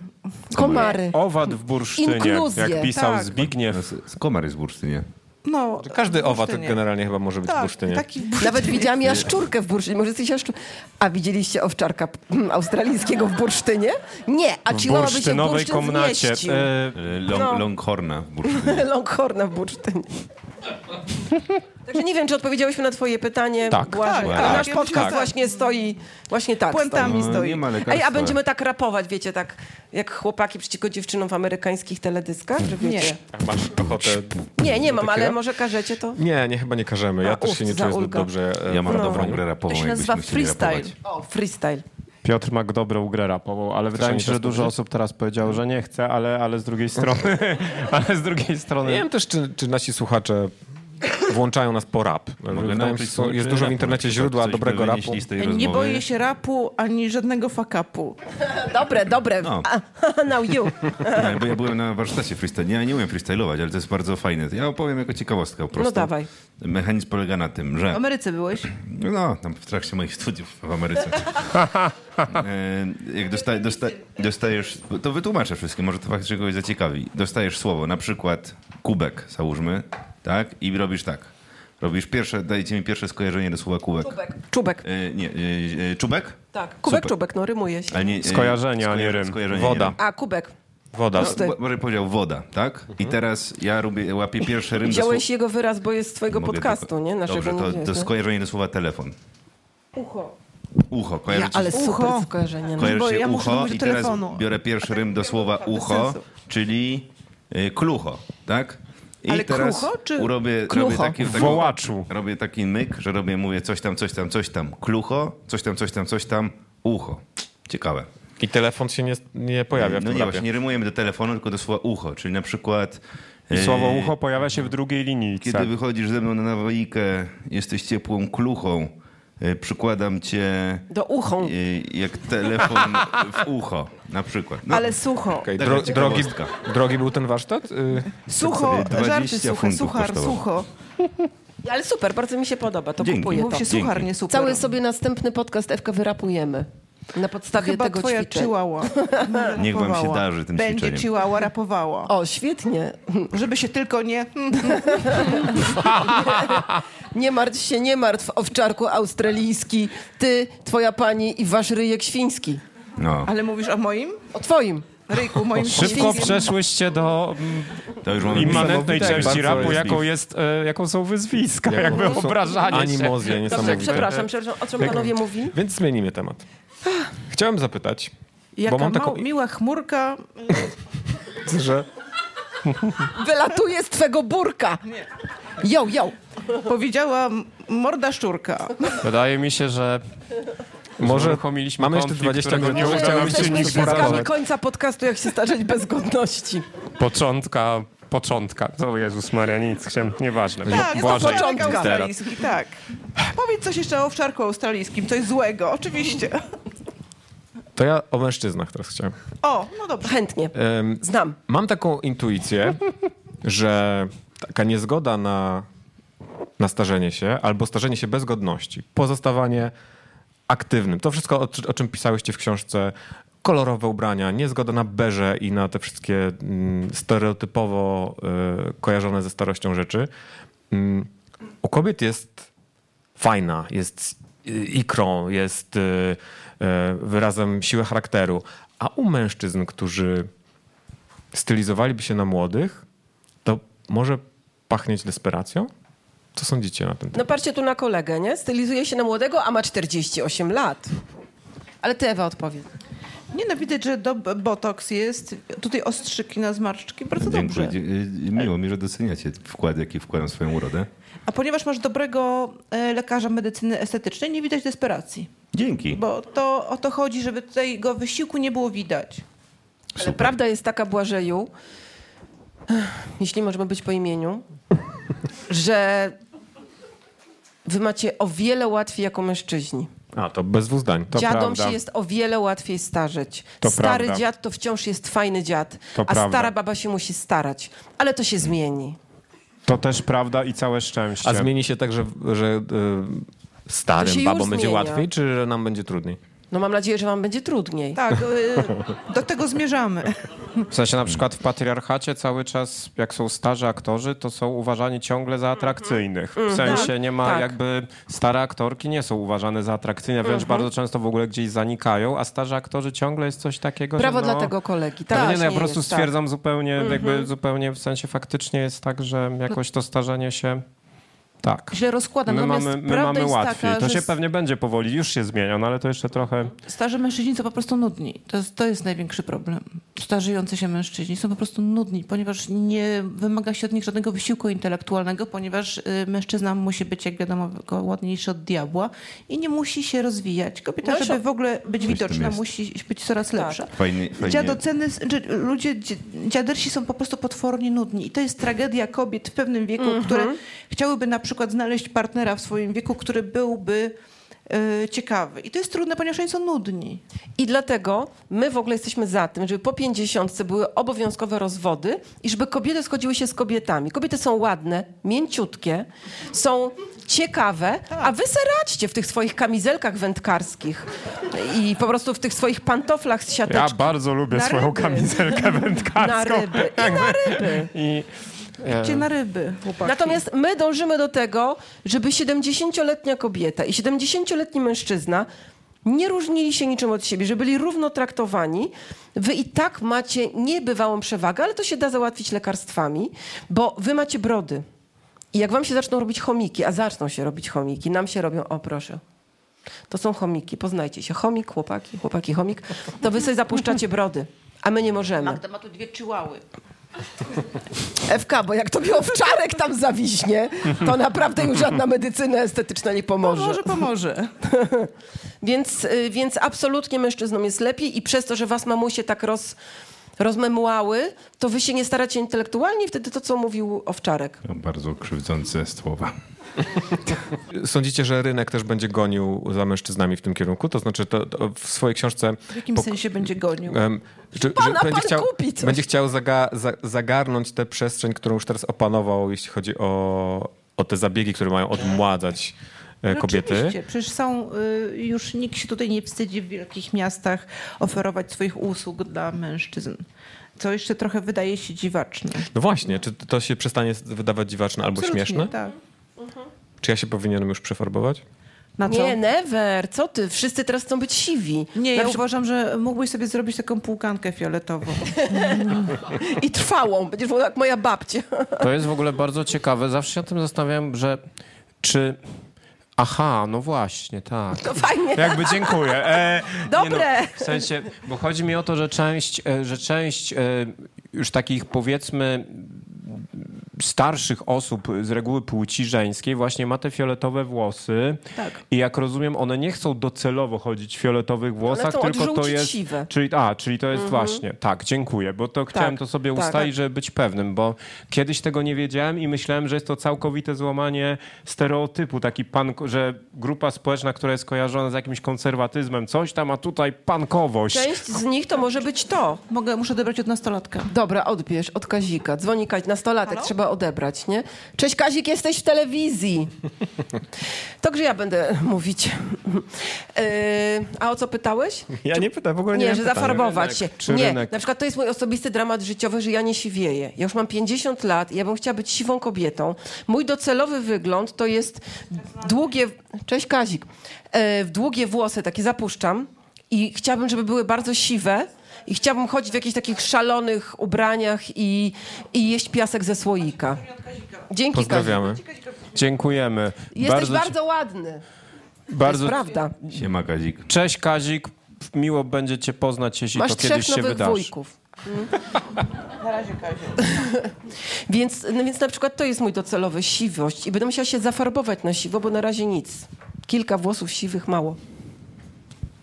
Speaker 3: komary.
Speaker 4: owad w bursztynie,
Speaker 3: Inkluzje,
Speaker 4: jak pisał
Speaker 2: tak.
Speaker 4: Zbigniew.
Speaker 5: Komary z bursztynie.
Speaker 2: No,
Speaker 1: Każdy
Speaker 2: w
Speaker 1: owad
Speaker 2: bursztynie.
Speaker 1: generalnie chyba może być w
Speaker 2: Tak,
Speaker 1: bursztynie.
Speaker 2: taki w bursztynie.
Speaker 3: Nawet widziałam jaszczurkę w bursztynie. Może jesteś jaszczur... A widzieliście owczarka [CLEARS THROAT] mm, australijskiego w bursztynie? Nie, a
Speaker 4: W
Speaker 3: Chihuahua by się w
Speaker 4: bursztynowej
Speaker 3: bursztyn
Speaker 4: komnacie. E,
Speaker 3: zmieścił.
Speaker 4: Y,
Speaker 5: E, Long,
Speaker 3: No.
Speaker 5: Longhorna w bursztynie.
Speaker 3: Longhorna w bursztynie. Także nie wiem, czy odpowiedziałyśmy na twoje pytanie.
Speaker 4: Tak.
Speaker 3: Błażej.
Speaker 5: Tak,
Speaker 3: Ale
Speaker 5: tak.
Speaker 3: nasz podcast
Speaker 2: Tak.
Speaker 3: właśnie stoi, właśnie tak
Speaker 2: Puentami
Speaker 3: stoi.
Speaker 5: No, stoi. nie ma lekarstwa.
Speaker 3: Ej, a będziemy tak rapować, wiecie, tak jak chłopaki przeciwko dziewczynom w amerykańskich teledyskach, że wiecie.
Speaker 1: Masz ochotę...
Speaker 3: Nie, nie, mam, ale
Speaker 1: Takiego?
Speaker 3: może każecie to?
Speaker 1: Nie, nie, chyba nie każemy. Ja
Speaker 3: A,
Speaker 1: też
Speaker 3: uff,
Speaker 1: się nie
Speaker 3: za
Speaker 1: czuję zbyt
Speaker 3: ulga.
Speaker 1: dobrze. e,
Speaker 5: Ja mam
Speaker 1: w
Speaker 5: dobrą
Speaker 1: radowaniu.
Speaker 5: grę rapową,
Speaker 2: No. To się
Speaker 5: jakbyśmy
Speaker 2: nazywa
Speaker 5: chcieli
Speaker 2: freestyle.
Speaker 5: rapować.
Speaker 3: O, freestyle.
Speaker 4: Piotr ma dobrą grę rapową, ale wydaje
Speaker 1: o
Speaker 4: mi
Speaker 1: niej
Speaker 4: się,
Speaker 1: teraz
Speaker 4: że dużo
Speaker 1: powiedzieć?
Speaker 4: osób teraz powiedziało, że nie chce, ale, ale z drugiej strony, [LAUGHS] ale z drugiej
Speaker 1: Nie
Speaker 4: strony
Speaker 1: wiem też, czy, czy nasi słuchacze włączają nas po rap. Wydaje mi się,
Speaker 5: nauczyć
Speaker 1: są- jest
Speaker 5: słuchaczy
Speaker 1: dużo w
Speaker 5: rapu,
Speaker 1: internecie
Speaker 5: na przykład.
Speaker 1: źródła
Speaker 5: Coś by
Speaker 1: dobrego rapu.
Speaker 5: wynieśli z tej
Speaker 2: Nie
Speaker 5: rozmowy.
Speaker 2: boję się rapu ani żadnego fakapu.
Speaker 3: Dobre, dobre.
Speaker 5: No.
Speaker 3: A, [LAUGHS] Now you.
Speaker 5: Nie, bo ja byłem na warsztacie freestyle. Ja nie umiem freestylować, ale to jest bardzo fajne. Ja opowiem jako ciekawostkę po
Speaker 2: No
Speaker 5: prostu.
Speaker 3: No dawaj.
Speaker 5: Mechanizm polega na tym,
Speaker 2: W
Speaker 5: że...
Speaker 2: Ameryce byłeś?
Speaker 5: No, tam w trakcie moich studiów w
Speaker 4: [LAUGHS]
Speaker 5: Ameryce. E, Jak dosta, dosta, dostajesz, to wytłumaczę wszystkim, może to faktycznie kogoś zaciekawi. Dostajesz słowo, na przykład kubek, załóżmy, tak? I robisz tak. Robisz pierwsze, dajcie mi pierwsze skojarzenie do słowa kubek.
Speaker 3: Czubek. Czubek.
Speaker 5: E, nie, e, e, czubek?
Speaker 3: Tak, kubek,
Speaker 5: Super.
Speaker 3: czubek, no rymuje się.
Speaker 5: Ale nie, e,
Speaker 4: Skojarzenie, a nie
Speaker 5: skojar-
Speaker 4: rym.
Speaker 5: skojarzenie,
Speaker 1: Woda.
Speaker 5: nie rym.
Speaker 3: A, kubek.
Speaker 1: Woda.
Speaker 5: No, bo- może powiedział woda, tak?
Speaker 3: Mhm.
Speaker 5: I teraz ja robię, łapię pierwszy rym do
Speaker 3: Wziąłeś
Speaker 5: słów-
Speaker 3: jego wyraz, bo jest z twojego
Speaker 5: Mogę
Speaker 3: podcastu,
Speaker 5: tylko-
Speaker 3: nie? Naszego
Speaker 5: Dobrze, to,
Speaker 3: nie
Speaker 5: to
Speaker 3: wiesz, nie?
Speaker 5: skojarzenie do słowa telefon.
Speaker 3: Ucho.
Speaker 5: Ucho, kojarzy
Speaker 2: Ja,
Speaker 5: ci
Speaker 3: Ale
Speaker 5: się-
Speaker 3: super
Speaker 2: Ucho.
Speaker 3: skojarzenie. No.
Speaker 5: Kojarzy
Speaker 2: Bo
Speaker 5: się
Speaker 2: ja muszę
Speaker 5: ucho
Speaker 2: mówić
Speaker 5: i
Speaker 2: do
Speaker 5: teraz
Speaker 2: telefonu.
Speaker 5: biorę pierwszy rym do
Speaker 2: [LAUGHS]
Speaker 5: słowa ucho,
Speaker 2: sensu.
Speaker 5: czyli y, klucho, tak? I
Speaker 2: Ale
Speaker 5: teraz
Speaker 2: krucho, czy
Speaker 5: robię, robię
Speaker 3: klucho?
Speaker 5: taki, taki,
Speaker 4: Wołaczu.
Speaker 5: robię taki myk, że robię, mówię coś tam, coś tam, coś tam, klucho, coś tam, coś tam, coś tam, ucho. Ciekawe.
Speaker 1: I telefon się nie, nie pojawia w
Speaker 5: no
Speaker 1: tym
Speaker 5: nie,
Speaker 1: rapie.
Speaker 5: właśnie nie rymujemy do telefonu, tylko do słowa ucho, czyli na przykład...
Speaker 4: I
Speaker 5: y,
Speaker 4: słowo ucho pojawia się w drugiej linijce.
Speaker 5: Kiedy wychodzisz ze mną na nawojkę, jesteś ciepłą kluchą, y, przykładam cię
Speaker 3: Do uchą.
Speaker 5: y, jak telefon w ucho, na przykład. No,
Speaker 2: Ale sucho.
Speaker 1: Okej,
Speaker 5: Taka
Speaker 1: dro, drogi,
Speaker 5: ciekawostka.
Speaker 1: drogi był ten warsztat? Y,
Speaker 2: Sucho,
Speaker 5: sobie 20
Speaker 2: żarty suche,
Speaker 5: funtów
Speaker 2: suchar,
Speaker 5: kosztowało.
Speaker 2: sucho.
Speaker 3: Ale super, bardzo mi się podoba, to
Speaker 5: Dzięki.
Speaker 3: kupuję
Speaker 2: Mów
Speaker 3: to.
Speaker 2: się
Speaker 5: Dzięki.
Speaker 2: suchar, nie super.
Speaker 3: Cały sobie następny podcast Ewka wyrapujemy. Na podstawie
Speaker 2: Chyba
Speaker 3: tego
Speaker 2: twoja
Speaker 3: ćwiczeń. [LAUGHS]
Speaker 2: chihuahua.
Speaker 5: Niech wam się
Speaker 2: Rapowała.
Speaker 5: darzy tym
Speaker 2: Będzie
Speaker 5: ćwiczeniem.
Speaker 2: chihuahua rapowała.
Speaker 3: O, świetnie. [LAUGHS]
Speaker 2: Żeby się tylko nie... [LAUGHS]
Speaker 3: Nie martw się, nie martw, owczarku australijski. Ty, twoja pani i wasz ryjek świński.
Speaker 5: No,
Speaker 2: Ale mówisz o moim?
Speaker 3: O twoim.
Speaker 2: Ryjku, moim
Speaker 4: Szybko
Speaker 2: świńskim?
Speaker 4: przeszłyście do
Speaker 5: to już
Speaker 4: mm,
Speaker 5: mamy
Speaker 4: immanentnej
Speaker 1: niesamowite, jak
Speaker 4: części
Speaker 1: bardzo
Speaker 4: rapu,
Speaker 1: jest
Speaker 4: jaką,
Speaker 1: beef.
Speaker 4: jest, e, jaką są wyzwiska,
Speaker 1: Jaką
Speaker 4: jakby
Speaker 1: są
Speaker 4: obrażanie się.
Speaker 1: animozje
Speaker 3: Dobrze,
Speaker 1: niesamowite.
Speaker 3: przepraszam, przepraszam, o czym panowie mówi?
Speaker 1: Więc zmienimy temat. Chciałem zapytać,
Speaker 2: Jaka
Speaker 1: bo mam
Speaker 2: mał-
Speaker 1: taką...
Speaker 2: miła chmurka.
Speaker 1: że
Speaker 3: Wylatuje z twego burka. Jo, jo.
Speaker 2: Powiedziała m- morda szczurka. No
Speaker 4: Wydaje mi się, że
Speaker 1: Może
Speaker 4: uruchomiliśmy
Speaker 1: mamy jeszcze
Speaker 4: konflikt,
Speaker 1: 20
Speaker 4: którego
Speaker 1: minut.
Speaker 4: nie
Speaker 1: Może
Speaker 4: udało
Speaker 1: chciałbym
Speaker 4: nam się
Speaker 1: się
Speaker 3: Jesteśmy
Speaker 1: nigdy
Speaker 3: świadkami
Speaker 1: zarażać.
Speaker 3: końca podcastu, jak się starzeć bez godności.
Speaker 4: początka, początka. O Jezus Maria, nic, chciałem, nieważne.
Speaker 2: Tak, jest to
Speaker 4: Błażej.
Speaker 2: początek
Speaker 3: Teraz.
Speaker 2: australijski, tak. Powiedz coś jeszcze o owczarku australijskim, coś złego, oczywiście.
Speaker 1: To ja o mężczyznach teraz chciałem.
Speaker 2: O, no dobrze.
Speaker 3: Chętnie.
Speaker 4: E.
Speaker 1: Em,
Speaker 3: Znam.
Speaker 1: Mam taką intuicję, że taka niezgoda na, na starzenie się albo starzenie się bez godności, pozostawanie aktywnym, to wszystko, o, czy- o czym pisałyście w książce, kolorowe ubrania, niezgoda na berze i na te wszystkie mm, stereotypowo y, kojarzone ze starością rzeczy, mm, u kobiet jest fajna, jest y, ikrą, jest y, y, wyrazem siły charakteru, a u mężczyzn, którzy stylizowaliby się na młodych, to może pachnieć desperacją? Co sądzicie na ten temat?
Speaker 3: No patrzcie tu na kolegę, nie? Stylizuje się na młodego, a ma 48 lat. Ale ty, Ewa, odpowiedz.
Speaker 2: Nie no, widać, że do botoks jest, tutaj ostrzyki na zmarszczki, bardzo
Speaker 5: Dziękuję.
Speaker 2: dobrze.
Speaker 5: Dzie- y, Miło mi, że doceniacie wkład, jaki wkładam w swoją urodę.
Speaker 2: A ponieważ masz dobrego e, lekarza medycyny estetycznej, nie widać desperacji.
Speaker 5: Dzięki.
Speaker 2: Bo to o to chodzi, żeby tego wysiłku nie było widać.
Speaker 3: Ale prawda jest taka, Błażeju, jeśli możemy być po imieniu, że wy macie o wiele łatwiej jako mężczyźni.
Speaker 1: A, to bez dwóch zdań. To
Speaker 3: Dziadom
Speaker 4: prawda.
Speaker 3: się jest o wiele łatwiej starzeć.
Speaker 4: To
Speaker 3: Stary
Speaker 4: prawda.
Speaker 3: dziad to wciąż jest fajny dziad,
Speaker 4: To
Speaker 3: a
Speaker 4: prawda.
Speaker 3: stara baba się musi starać. Ale to się zmieni.
Speaker 4: To też prawda i całe szczęście.
Speaker 1: A zmieni się tak, że, że y, starym
Speaker 3: To się już
Speaker 1: babom będzie
Speaker 3: zmienia.
Speaker 1: łatwiej, czy że nam będzie trudniej?
Speaker 3: No mam nadzieję, że wam będzie trudniej.
Speaker 2: Tak, y, do tego zmierzamy.
Speaker 4: W sensie na przykład w patriarchacie cały czas, jak są starzy aktorzy, to są uważani ciągle za atrakcyjnych. W sensie nie ma
Speaker 3: Mhm. tak.
Speaker 4: jakby, stare aktorki nie są uważane za atrakcyjne, wręcz
Speaker 3: Mhm.
Speaker 4: bardzo często w ogóle gdzieś zanikają, a starzy aktorzy ciągle jest coś takiego,
Speaker 3: Brawo
Speaker 4: że no,
Speaker 3: dla tego kolegi.
Speaker 4: No
Speaker 3: Tak,
Speaker 4: nie, no ja
Speaker 3: nie
Speaker 4: po prostu
Speaker 3: jest, tak. Mhm.
Speaker 4: stwierdzam zupełnie, jakby zupełnie w sensie faktycznie jest tak, że jakoś to starzenie się... Tak.
Speaker 3: Źle rozkładam.
Speaker 4: My
Speaker 3: Natomiast
Speaker 4: mamy, my
Speaker 3: prawda
Speaker 4: mamy
Speaker 3: jest
Speaker 4: łatwiej.
Speaker 3: Taka,
Speaker 4: to
Speaker 3: że
Speaker 4: się
Speaker 3: s-
Speaker 4: pewnie będzie powoli, już się zmienia, no ale to jeszcze trochę...
Speaker 2: Starzy mężczyźni są po prostu nudni. To jest, to jest największy problem. Starzejący się mężczyźni są po prostu nudni, ponieważ nie wymaga się od nich żadnego wysiłku intelektualnego, ponieważ y, mężczyzna musi być, jak wiadomo, tylko ładniejszy od diabła i nie musi się rozwijać. Kobieta,
Speaker 3: No i
Speaker 2: żeby
Speaker 3: szok.
Speaker 2: w ogóle być widoczna,
Speaker 5: jest.
Speaker 2: musi być coraz lepsza.
Speaker 5: Fajny, fajnie.
Speaker 2: Dziadoceny, czy znaczy, ludzie, dzi- dziadersi są po prostu potwornie nudni. I to jest tragedia kobiet w pewnym wieku,
Speaker 3: Mhm.
Speaker 2: które chciałyby na przykład znaleźć partnera w swoim wieku, który byłby e, ciekawy. I to jest trudne, ponieważ oni są nudni.
Speaker 3: I dlatego my w ogóle jesteśmy za tym, żeby po 50 były obowiązkowe rozwody i żeby kobiety schodziły się z kobietami. Kobiety są ładne, mięciutkie, są ciekawe, a wy seraćcie w tych swoich kamizelkach wędkarskich i po prostu w tych swoich pantoflach z siateczki.
Speaker 4: Ja bardzo lubię
Speaker 3: Na
Speaker 4: swoją
Speaker 3: ryby.
Speaker 4: kamizelkę
Speaker 3: [LAUGHS] na
Speaker 4: wędkarską.
Speaker 3: ryby. I na ryby.
Speaker 4: I,
Speaker 1: E.
Speaker 2: Cię na ryby, chłopaki.
Speaker 3: Natomiast my dążymy do tego, żeby 70-letnia kobieta i 70-letni mężczyzna nie różnili się niczym od siebie, żeby byli równo traktowani. Wy i tak macie niebywałą przewagę, ale to się da załatwić lekarstwami, bo wy macie brody. I jak wam się zaczną robić chomiki, a zaczną się robić chomiki, nam się robią, o proszę. To są chomiki, poznajcie się. Chomik, chłopaki, chłopaki, chomik. To wy sobie zapuszczacie brody, a my nie możemy.
Speaker 2: Magda ma tu dwie czyłały.
Speaker 3: FK, bo jak tobie owczarek tam zawiśnie, to naprawdę już żadna medycyna estetyczna nie pomoże.
Speaker 2: Może pomoże.
Speaker 3: [LAUGHS] Więc, y, więc absolutnie mężczyznom jest lepiej i przez to, że was mamusie tak roz, rozmemłały, to wy się nie staracie intelektualnie i wtedy to, co mówił owczarek.
Speaker 5: To Bardzo krzywdzące słowa.
Speaker 1: Sądzicie, że rynek też będzie gonił za mężczyznami w tym kierunku? To znaczy, to, to w swojej książce.
Speaker 2: W jakim sensie będzie gonił?
Speaker 1: em, że, że
Speaker 3: Pana pan
Speaker 1: będzie chciał,
Speaker 3: kupi coś.
Speaker 1: będzie chciał zaga, za, zagarnąć tę przestrzeń, którą już teraz opanował, jeśli chodzi o, o te zabiegi, które mają odmładzać e,
Speaker 2: No
Speaker 1: kobiety.
Speaker 2: Oczywiście, przecież są, y, już nikt się tutaj nie wstydzi w wielkich miastach oferować swoich usług dla mężczyzn. Co jeszcze trochę wydaje się dziwaczne.
Speaker 1: No właśnie, czy to się przestanie wydawać dziwaczne albo
Speaker 2: Absolutnie,
Speaker 1: śmieszne?
Speaker 2: Tak.
Speaker 1: Czy ja się powinienem już przefarbować?
Speaker 2: Na co?
Speaker 3: Nie, no never, co ty? Wszyscy teraz chcą być siwi.
Speaker 2: Nie,
Speaker 3: Na
Speaker 2: ja
Speaker 3: przykład-
Speaker 2: uważam, że mógłbyś sobie zrobić taką półkankę fioletową.
Speaker 3: I trwałą, będziesz mówiła jak moja babcia. [LAUGHS]
Speaker 4: To jest w ogóle bardzo ciekawe. Zawsze się o tym zastanawiam, że czy. Aha, no właśnie, tak.
Speaker 3: To No fajnie.
Speaker 4: Jakby dziękuję. E,
Speaker 3: Dobre.
Speaker 4: Nie no, w sensie, bo chodzi mi o to, że część, e, że część e, już takich powiedzmy starszych osób z reguły płci żeńskiej właśnie ma te fioletowe włosy.
Speaker 2: Tak.
Speaker 4: I jak rozumiem, one nie chcą docelowo chodzić w fioletowych włosach,
Speaker 3: chcą
Speaker 4: tylko to
Speaker 3: odżółcić
Speaker 4: jest.
Speaker 3: siwe. Mhm.
Speaker 4: Czyli, a, czyli to jest właśnie. Tak, dziękuję, bo to chciałem to sobie
Speaker 3: tak.
Speaker 4: ustalić, żeby być pewnym, bo kiedyś tego nie wiedziałem i myślałem, że jest to całkowite złamanie stereotypu, taki pan, że grupa społeczna, która jest kojarzona z jakimś konserwatyzmem, coś tam, a tutaj pankowość.
Speaker 3: Część z nich to może być to.
Speaker 2: Mogę, muszę odebrać od nastolatka.
Speaker 3: Dobra, odbierz od Kazika. Dzwoni Kazik, nastolatek, trzeba odebrać, nie? Cześć Kazik, jesteś w telewizji. To gdzie ja będę mówić? [LAUGHS] Yy, a o co pytałeś?
Speaker 1: Ja nie pytam, w ogóle
Speaker 3: Nie,
Speaker 1: miałem
Speaker 3: że
Speaker 1: pytania.
Speaker 3: zafarbować się.
Speaker 4: Czy
Speaker 3: nie,
Speaker 4: rynek?
Speaker 3: na przykład to jest mój osobisty dramat życiowy, że ja nie siwieję. Ja już mam 50 lat i ja bym chciała być siwą kobietą. Mój docelowy wygląd to jest długie... Cześć Kazik. E, długie włosy, takie zapuszczam i chciałabym, żeby były bardzo siwe i chciałabym chodzić w jakichś takich szalonych ubraniach i, i jeść piasek ze słoika. Dzięki Kazik.
Speaker 1: Pozdrawiamy.
Speaker 4: Dziękujemy.
Speaker 3: Jesteś bardzo,
Speaker 4: ci-
Speaker 3: ładny.
Speaker 4: bardzo
Speaker 3: To jest prawda.
Speaker 5: Siema Kazik.
Speaker 4: Cześć Kazik, miło będzie cię poznać, jeśli
Speaker 3: Masz
Speaker 4: to
Speaker 3: trzech
Speaker 4: kiedyś się
Speaker 3: nowych
Speaker 4: wydarzy.
Speaker 3: wujków.
Speaker 2: [LAUGHS] Na razie, Kaziu.
Speaker 3: Więc, no więc na przykład to jest mój docelowy siwość i będę musiała się zafarbować na siwo, bo na razie nic. Kilka włosów siwych mało.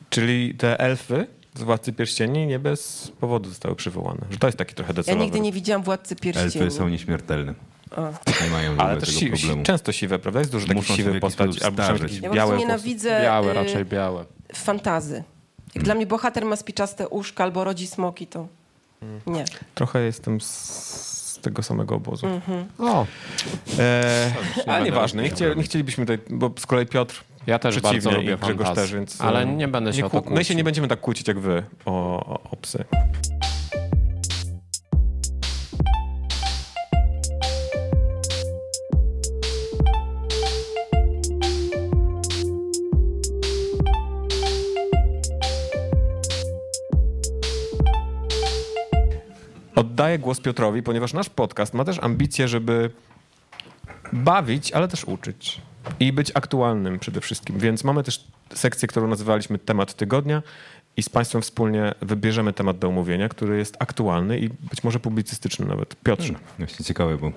Speaker 1: Czyli te elfy z Władcy Pierścieni nie bez powodu zostały przywołane. Że to jest taki trochę
Speaker 3: Ja
Speaker 1: docelowy.
Speaker 3: nigdy nie widziałam władcy pierścieni.
Speaker 5: Elfy są nieśmiertelne. Nie mają w ogóle
Speaker 1: Ale
Speaker 5: tego
Speaker 1: też si- si-
Speaker 5: problemu.
Speaker 1: często siwe, prawda? Jest dużo takich
Speaker 5: Muszą sobie
Speaker 1: siwych
Speaker 5: w jakiś
Speaker 1: postaci,
Speaker 5: sposób
Speaker 1: albo przynajmniej
Speaker 5: starzeć.
Speaker 1: takich
Speaker 3: Ja po
Speaker 1: białe
Speaker 3: prostu
Speaker 1: włosy.
Speaker 3: nienawidzę
Speaker 4: Białe,
Speaker 3: y,
Speaker 4: raczej białe.
Speaker 3: fantazy. Jak dla mnie bohater ma spiczaste uszka albo rodzi smoki, to nie.
Speaker 1: Trochę jestem z z tego samego obozu.
Speaker 4: O,
Speaker 3: Mhm.
Speaker 1: E, ale
Speaker 4: będę
Speaker 1: nieważne, nie, chcie, nie chcielibyśmy tutaj, bo z kolei Piotr
Speaker 4: Ja też
Speaker 1: przeciwnie
Speaker 4: bardzo lubię
Speaker 1: i Grzegorz
Speaker 4: fantasy,
Speaker 1: też, więc...
Speaker 4: ale
Speaker 1: e,
Speaker 4: nie będę się o to
Speaker 1: kłó- My się
Speaker 4: kłócił.
Speaker 1: nie będziemy tak kłócić jak wy o, o, o psy. Oddaję głos Piotrowi, ponieważ nasz podcast ma też ambicje, żeby bawić, ale też uczyć. I być aktualnym przede wszystkim. Więc mamy też sekcję, którą nazywaliśmy temat tygodnia i z Państwem wspólnie wybierzemy temat do omówienia, który jest aktualny i być może publicystyczny nawet. Piotrze,
Speaker 5: Właśnie ciekawe, bo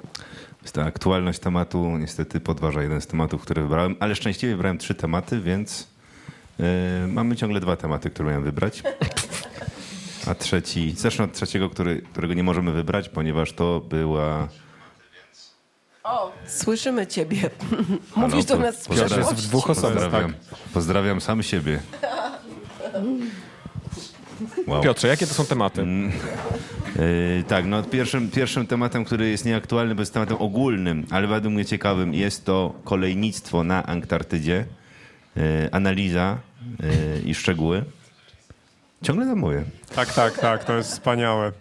Speaker 5: jest ta aktualność tematu niestety podważa jeden z tematów, który wybrałem, ale szczęśliwie wybrałem trzy tematy, więc e, mamy ciągle dwa tematy, które miałem wybrać. A trzeci, zacznę od trzeciego, który, którego nie możemy wybrać, ponieważ to była...
Speaker 3: Słyszymy ciebie. Mówisz do
Speaker 5: po-
Speaker 3: nas z
Speaker 5: pozdrawiam-
Speaker 1: Piotr jest w dwóch osobach, tak.
Speaker 5: Pozdrawiam, pozdrawiam
Speaker 3: [LAUGHS]
Speaker 5: sam siebie. Wow.
Speaker 1: Piotrze, jakie to są tematy?
Speaker 5: Yy, tak, no pierwszym, pierwszym tematem, który jest nieaktualny, bo jest tematem ogólnym, ale według mnie ciekawym, jest to kolejnictwo na Antarktydzie, yy, analiza yy, i szczegóły. Ciągle za moje.
Speaker 4: Tak, tak, tak, to jest wspaniałe.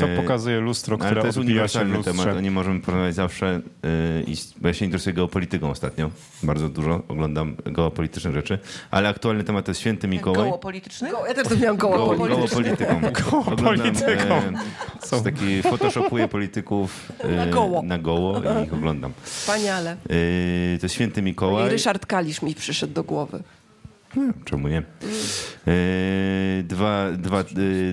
Speaker 4: Co
Speaker 5: Yy,
Speaker 4: pokazuje lustro,
Speaker 5: ale
Speaker 4: które
Speaker 5: to jest
Speaker 4: odbija się w
Speaker 5: uniwersalny temat,
Speaker 4: lustrze?
Speaker 5: o nie możemy porozmawiać zawsze. Yy, i, s- bo ja się interesuję geopolityką ostatnio, bardzo dużo oglądam geopolityczne rzeczy, ale aktualny temat to jest Święty Mikołaj.
Speaker 2: Koło polityczne?
Speaker 3: Go- Ja też to miałam
Speaker 5: Koło-
Speaker 3: goło.
Speaker 5: Koło polityką. Koło
Speaker 4: polityką.
Speaker 5: E, taki photoshopuję polityków e,
Speaker 3: Na goło.
Speaker 5: na goło i ich oglądam.
Speaker 3: Wspaniale.
Speaker 5: E, to święty
Speaker 3: I
Speaker 5: Mikołaj.
Speaker 3: Ryszard Kalisz mi przyszedł do głowy.
Speaker 5: Czemu nie? E, dwa, dwa, e,